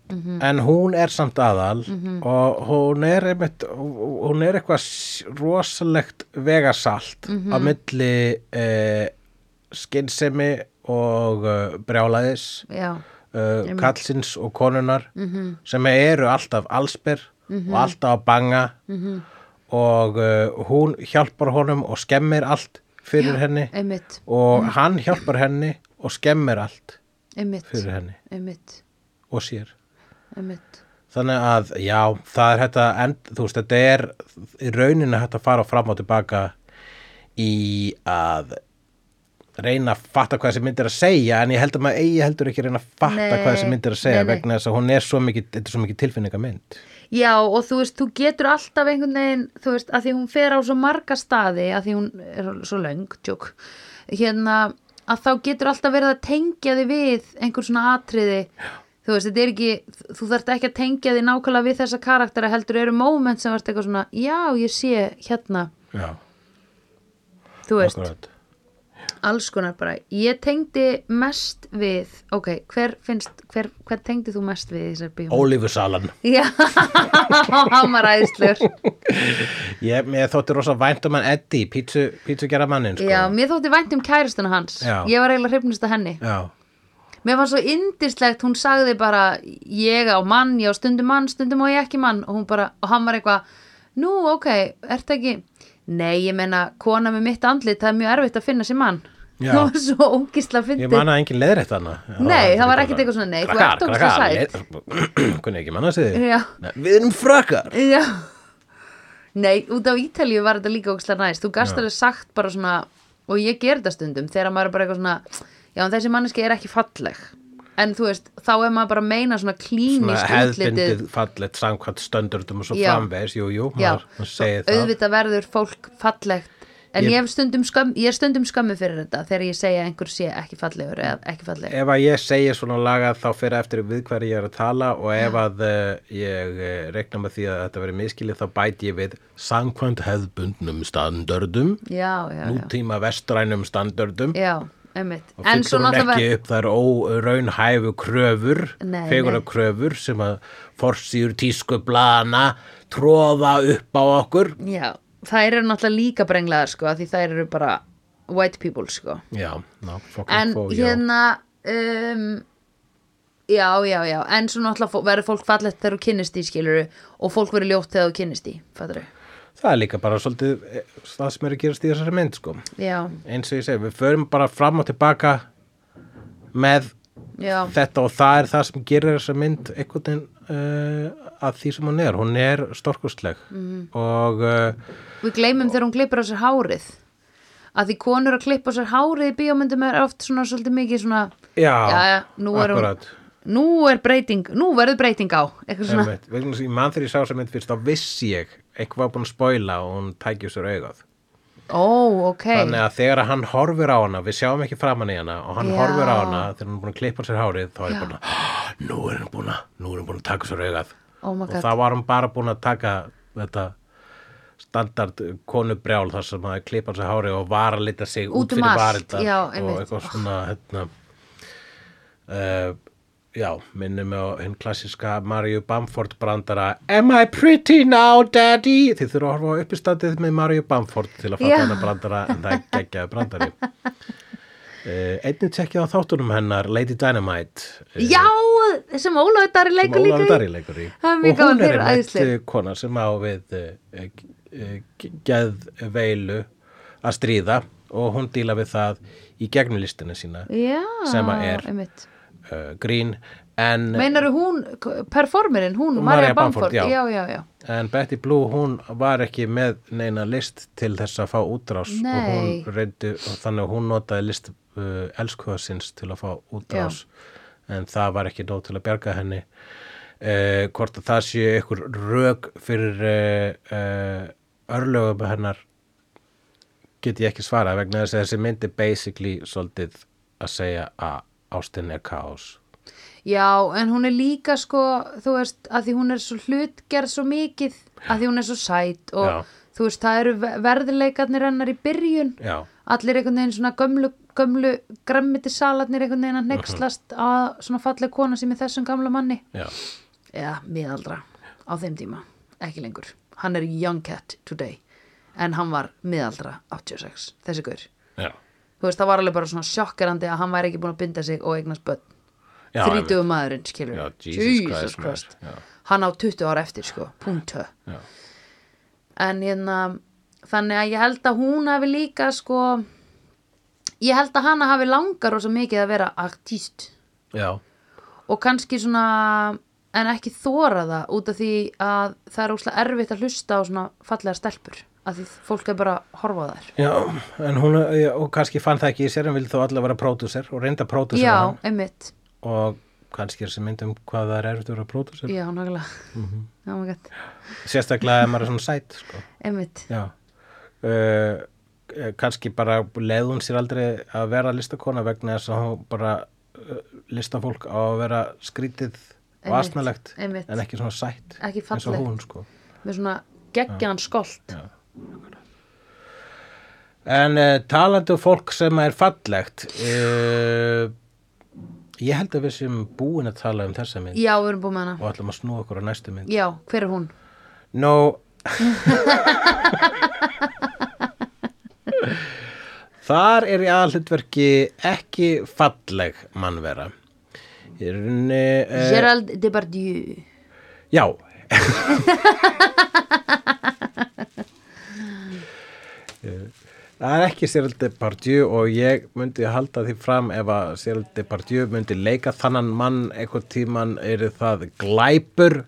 A: en hún er samt aðal og hún er einmitt, hún er eitthvað s- rosalegt vegasalt á milli eh, skynsemi og uh, brjálaðis
B: já,
A: uh, kallsins og konunar sem eru alltaf allsber og alltaf að banga og uh, hún hjálpar honum og skemmir allt fyrir henni
B: einmitt,
A: og hann hjálpar henni og skemmir allt
B: einmitt
A: fyrir henni
B: einmitt,
A: og sér.
B: einmitt
A: Þannig að já, það er þetta, end, þú veist, þetta er í rauninu hægt að fara fram og tilbaka í að reyna að fatta hvað þessi mynd er að segja en ég held að maður eigi heldur ekki að reyna að fatta
B: Nei,
A: hvað þessi mynd er að segja
B: nei, nei.
A: vegna þess að hún er svo mikið, þetta er svo mikið tilfinningamynd
B: já og þú veist, þú getur alltaf einhvern veginn, þú veist, að því hún fer á svo marga staði, að því hún er svo löng, tjók, hérna að þá getur alltaf verið að tengja þig við einhver svona atriði þú veist, þetta er ekki, þú þarft ekki að tengja þig nákvæmlega við þessa karaktera heldur eru moment sem varst eitthvað svona, já, ég sé hérna,
A: Já,
B: þú veist
A: akkurat
B: alls konar bara, ég tengdi mest við, ok, hver finnst hver, hver tengdi þú mest við í þessar bíum?
A: Ólífusalan
B: Já, (laughs) hann var æðslur
A: Ég, mér þótti rosa vænt um hann Eddie, pítsu, pítsu gera mannin sko.
B: Já, mér þótti vænt um kæristuna hans
A: Já.
B: Ég var eiginlega hrifnust að henni
A: Já,
B: Mér var svo yndislegt, hún sagði bara ég á mann, ég á stundum mann, stundum á ég ekki mann og hún bara, og hann var eitthvað nú, ok, ert ekki Nei, ég meina, kona með mitt andlit það er mjög erfitt að finna sér mann
A: Já.
B: Það var svo ógisla fyndið
A: ég man að engin leiðrétt hana
B: Nei, það var ekkert eitthvað svona, nei, þú ert ógeðslega
A: sætt (clears throat) Kunni ekki manna sig því
B: Já.
A: Nei, Við erum frakkar
B: Já Nei, út á Ítalíu var þetta líka ógislega næst Þú gast alveg sagt bara svona og ég ger þetta stundum þegar maður er bara eitthvað svona já, en þessi manneski er ekki falleg en þú veist, þá er maður bara að meina svona
A: Svona
B: klínist útlitið
A: hefðbindið fallet samkvæmt stöndurðum og svo
B: Já.
A: framvegis Jú, jú,
B: Já,
A: maður maður segir það
B: auðvitað verður fólk fallegt en
A: Ég-
B: ég, hef stundum skömm, ég er stundum skömmu fyrir þetta þegar ég segja að einhver sé ekki fallegur eða ekki falleg
A: Ef að ég segi svona lagað þá fyrir eftir við hverju ég er að tala og ef að eh, ég eh, rekna með því að þetta veri miskilið þá bæti ég við samkvæmt hefðbundnum standördum
B: Já, já, já,
A: nútíma vestrænum standördum
B: já, einmitt
A: og fylgur hún
B: náttúrulega-
A: ekki upp þær óraunhæfu kröfur
B: Nei,
A: fegura
B: nei.
A: kröfur sem að forsýur tísku blana tróða upp á okkur
B: Já, þær eru náttúrulega líka brenglaðar sko, af því þær eru bara white people sko.
A: já, ná, fucking
B: En
A: fó, já.
B: hérna, um, já, já, já, en svo náttúrulega fó- verður fólk fallegt þegar þú kynnist í skiluru og fólk verður ljótt þegar þú kynnist í, fattur þau?
A: það er líka bara svolítið eh, það sem er að gerast í þessari mynd sko.
B: já,
A: eins og ég segi, við förum bara fram og tilbaka með
B: já,
A: þetta og það er það sem gerir þessa mynd einhvern veginn uh, að því sem hún er, hún er storkustleg
B: Mhm.
A: og uh,
B: við gleymum þegar hún klippir á sér hárið að því konur að klippa á sér hárið í bíómyndum er oft svona svolítið mikið svona
A: já,
B: Jæja, nú er hún-
A: akkurat
B: nú er breyting, nú verður breyting á eitthvað svona,
A: Einmitt. vegna þess að ég mann þegar ég sá þessa mynd fyrst þá vissi ég eitthvað var búin að spoila og hún tækju sér augað
B: ó, ok
A: þannig að þegar að hann horfir á hana við sjáum ekki framan í hana og hann
B: Já.
A: horfir á hana þegar hann er búin að klippa sér hárið þá er ég búin að nú er hann búin að, nú er hann búin að taka sér augað
B: oh my
A: og
B: god,
A: það var hann bara búin að taka þetta standard konubrjál þar sem að klippa sér hárið og vara lita sig út,
B: Út um
A: fyrir
B: allt,
A: varirnar
B: já,
A: og
B: einmitt.
A: eitthvað svona hérna, uh, já, minnum á hinn klassiska Mario Bamford brandara Am I pretty now daddy? Þið þurfa að horfa á uppistandið með Mario Bamford til að fatta
B: Já.
A: hana brandara en það er geggjaði brandari
B: (laughs)
A: Uh, einnig tekja á þáttunum hennar Lady Dynamite eh,
B: já sem Ólafur Darri
A: sem
B: leikur
A: Ólafur
B: líka
A: Darri leikur í
B: Það er mjög
A: og hún
B: gaman,
A: er
B: þeir eru
A: einmitt
B: æðislegir.
A: eh, kona sem á við eh, eh, geðveilu að stríða og hún díla við það í gegnum listina sína
B: í já,
A: sem að er.
B: einmitt.
A: uh, grín en,
B: meinar hún, k- performerinn hún,
A: María
B: Marja
A: Bamford,
B: Bamford,
A: já.
B: já, já, já
A: en Betty Blue hún var ekki með neina list til þess að fá útrás og
B: Nei.
A: hún reyndi og þannig að hún notaði list uh, elskuðasins til að fá útrás en það var ekki nóg til að bjarga henni uh, hvort að það séu ykkur rök fyrir uh, uh, örlögum hennar get ég ekki svarað vegna þess að þessi myndi basically svolítið að segja að ástin er kaos
B: Já, en hún er líka sko, þú veist, að því hún er svo hlutgerð svo mikið, að því hún er svo sæt og
A: Já.
B: þú veist, það eru ve- verðileikarnir hennar í byrjun,
A: já,
B: allir einhvern veginn svona gömlu, gömlu græmmitisalarnir einhvern
A: Mhm.
B: veginn að neykslast að svona falleg kona sem er þessum gamla manni.
A: já,
B: Já, miðaldra á þeim tíma, ekki lengur. Hann er young cat today, en hann var miðaldra 86, þessi gaur.
A: já,
B: Þú veist, það var alveg bara svona sjokkerandi að hann væri ekki búin að binda sig og eignast börn
A: já einmitt.
B: þrítugu maðurinn, skilur
A: Já,
B: við.
A: Jesus Christ, maður. Já.
B: hann á 20 ára eftir, sko, punktu
A: Já.
B: en hérna þannig að ég held að hún hafi líka sko, ég held að hana hafi langar og svo mikið að vera artist
A: já,
B: og kannski svona en ekki þóra það út af því að það er óslega erfitt að hlusta á svona fallega stelpur, af því fólk er bara að horfa á þær.
A: Já, en hún, já, og kannski fann það ekki í sér en vildi þó allavega vera pródúser og reynda pródúser
B: Já,
A: hann
B: einmitt
A: og kannski er þessi mynd um hvað það er erfitt að vera pródúser
B: Já, nákvæmlega Já, oh maður gætt,
A: sérstaklega ef maður er svona sæt sko.
B: einmitt
A: Já uh, kannski bara leið hún sér aldrei að vera listakona vegna þess að hún bara uh, listafólk á að vera skrítið og
B: Einmitt,
A: asnalegt
B: einmitt.
A: en ekki svona sætt
B: Ekki
A: eins og
B: fallegt.
A: hún sko.
B: með svona geggjan skolt
A: En uh, talandi um fólk sem er fallegt uh, Ég held að við séum búin að tala um þessa mynd
B: Já, við erum búin með hana
A: og ætlum að snúa okkur á næstu mynd
B: Já, hver er hún?
A: Nú (laughs) Þar er í aðhlutverki ekki falleg mannvera Í rauninni eh,
B: Gerald Depardieu
A: Já Það er ekki Cyril Depardieu og ég myndi halda því fram ef að Cyril Depardieu myndi leika þannan mann eitthvað tíman eru það glæpur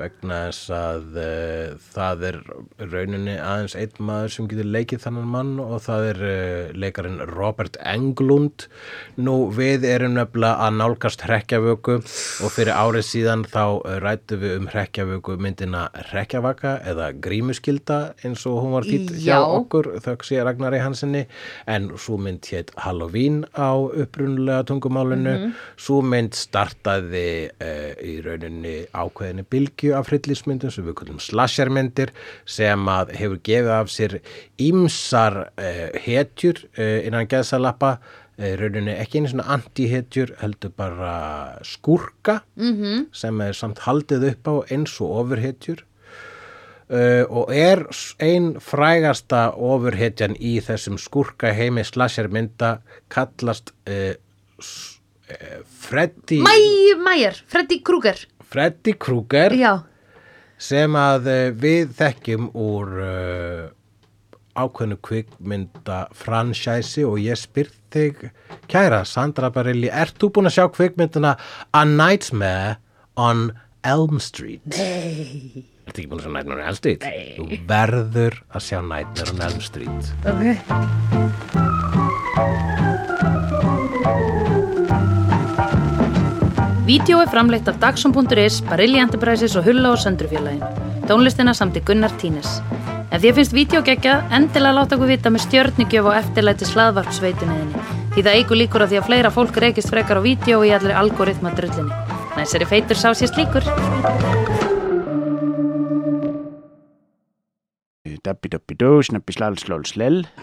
A: vegna þess að uh, það er í rauninni aðeins einn maður sem getur leikið þannan mann og það er uh, leikarinn Robert Englund nú við erum nefnilega að nálgast hrekkjavöku og fyrir árið síðan þá eh, ræddum við um hrekkjavöku myndina hrekkjavaka eða grímuskilda eins og hún var þýtt hjá
B: Já.
A: okkur okkur þökk sé Ragnari Hansenni en svo mynd hétt Halloween á upprunulega tungumálinu svo mynd startaði uh, í rauninni ákveðinni bylgju af hryllismyndum sem við kallum slashermyndir sem að hefur gefið af sér ímsar uh, hetjur uh, innan geðsalappa eh, í rauninni ekki einu svona anti-hetjur heldur bara skúrka
B: Mhm.
A: -hmm. sem er samt haldið upp á eins og ofurhetjur uh, og er s- ein frægasta ofurhetjan í þessum skúrka heimi slashermynda kallast uh, s, uh, Freddy,
B: Mæ, Mæjar, Freddy Krueger
A: Freddy Krueger
B: Já,
A: sem að eh, við þekkjum úr uh, ákveðnu kvikmynda fransæsi og ég spyr þig kæra Sandra Barilli, ert þú búin að sjá kvikmyndina A Nightmare on Elm Street?
C: Nei,
A: Ertu ekki búin að sjá Nightmare on Elm Street? Nei. Þú verður að sjá Nightmare on Elm Street.
C: ok. Vídeó er framleitt af Dagsum.is, Barilli Enterprises og Hulla og Söndrufjörlægin. Tónlistina samt í Gunnar Tínes. Ef þér finnst vídeo geggjað, endilega láta okkur vita með stjörnugjöf og eftirlæti slaðvarpsveitunniðinni. Því það eigur líkur að því að fleira fólk reykist frekar á vídeo og í allir algoritma drullinni. Næsari feitur sá sést líkur.
D: Dabbi dabbi dó, snabbi slal slól slell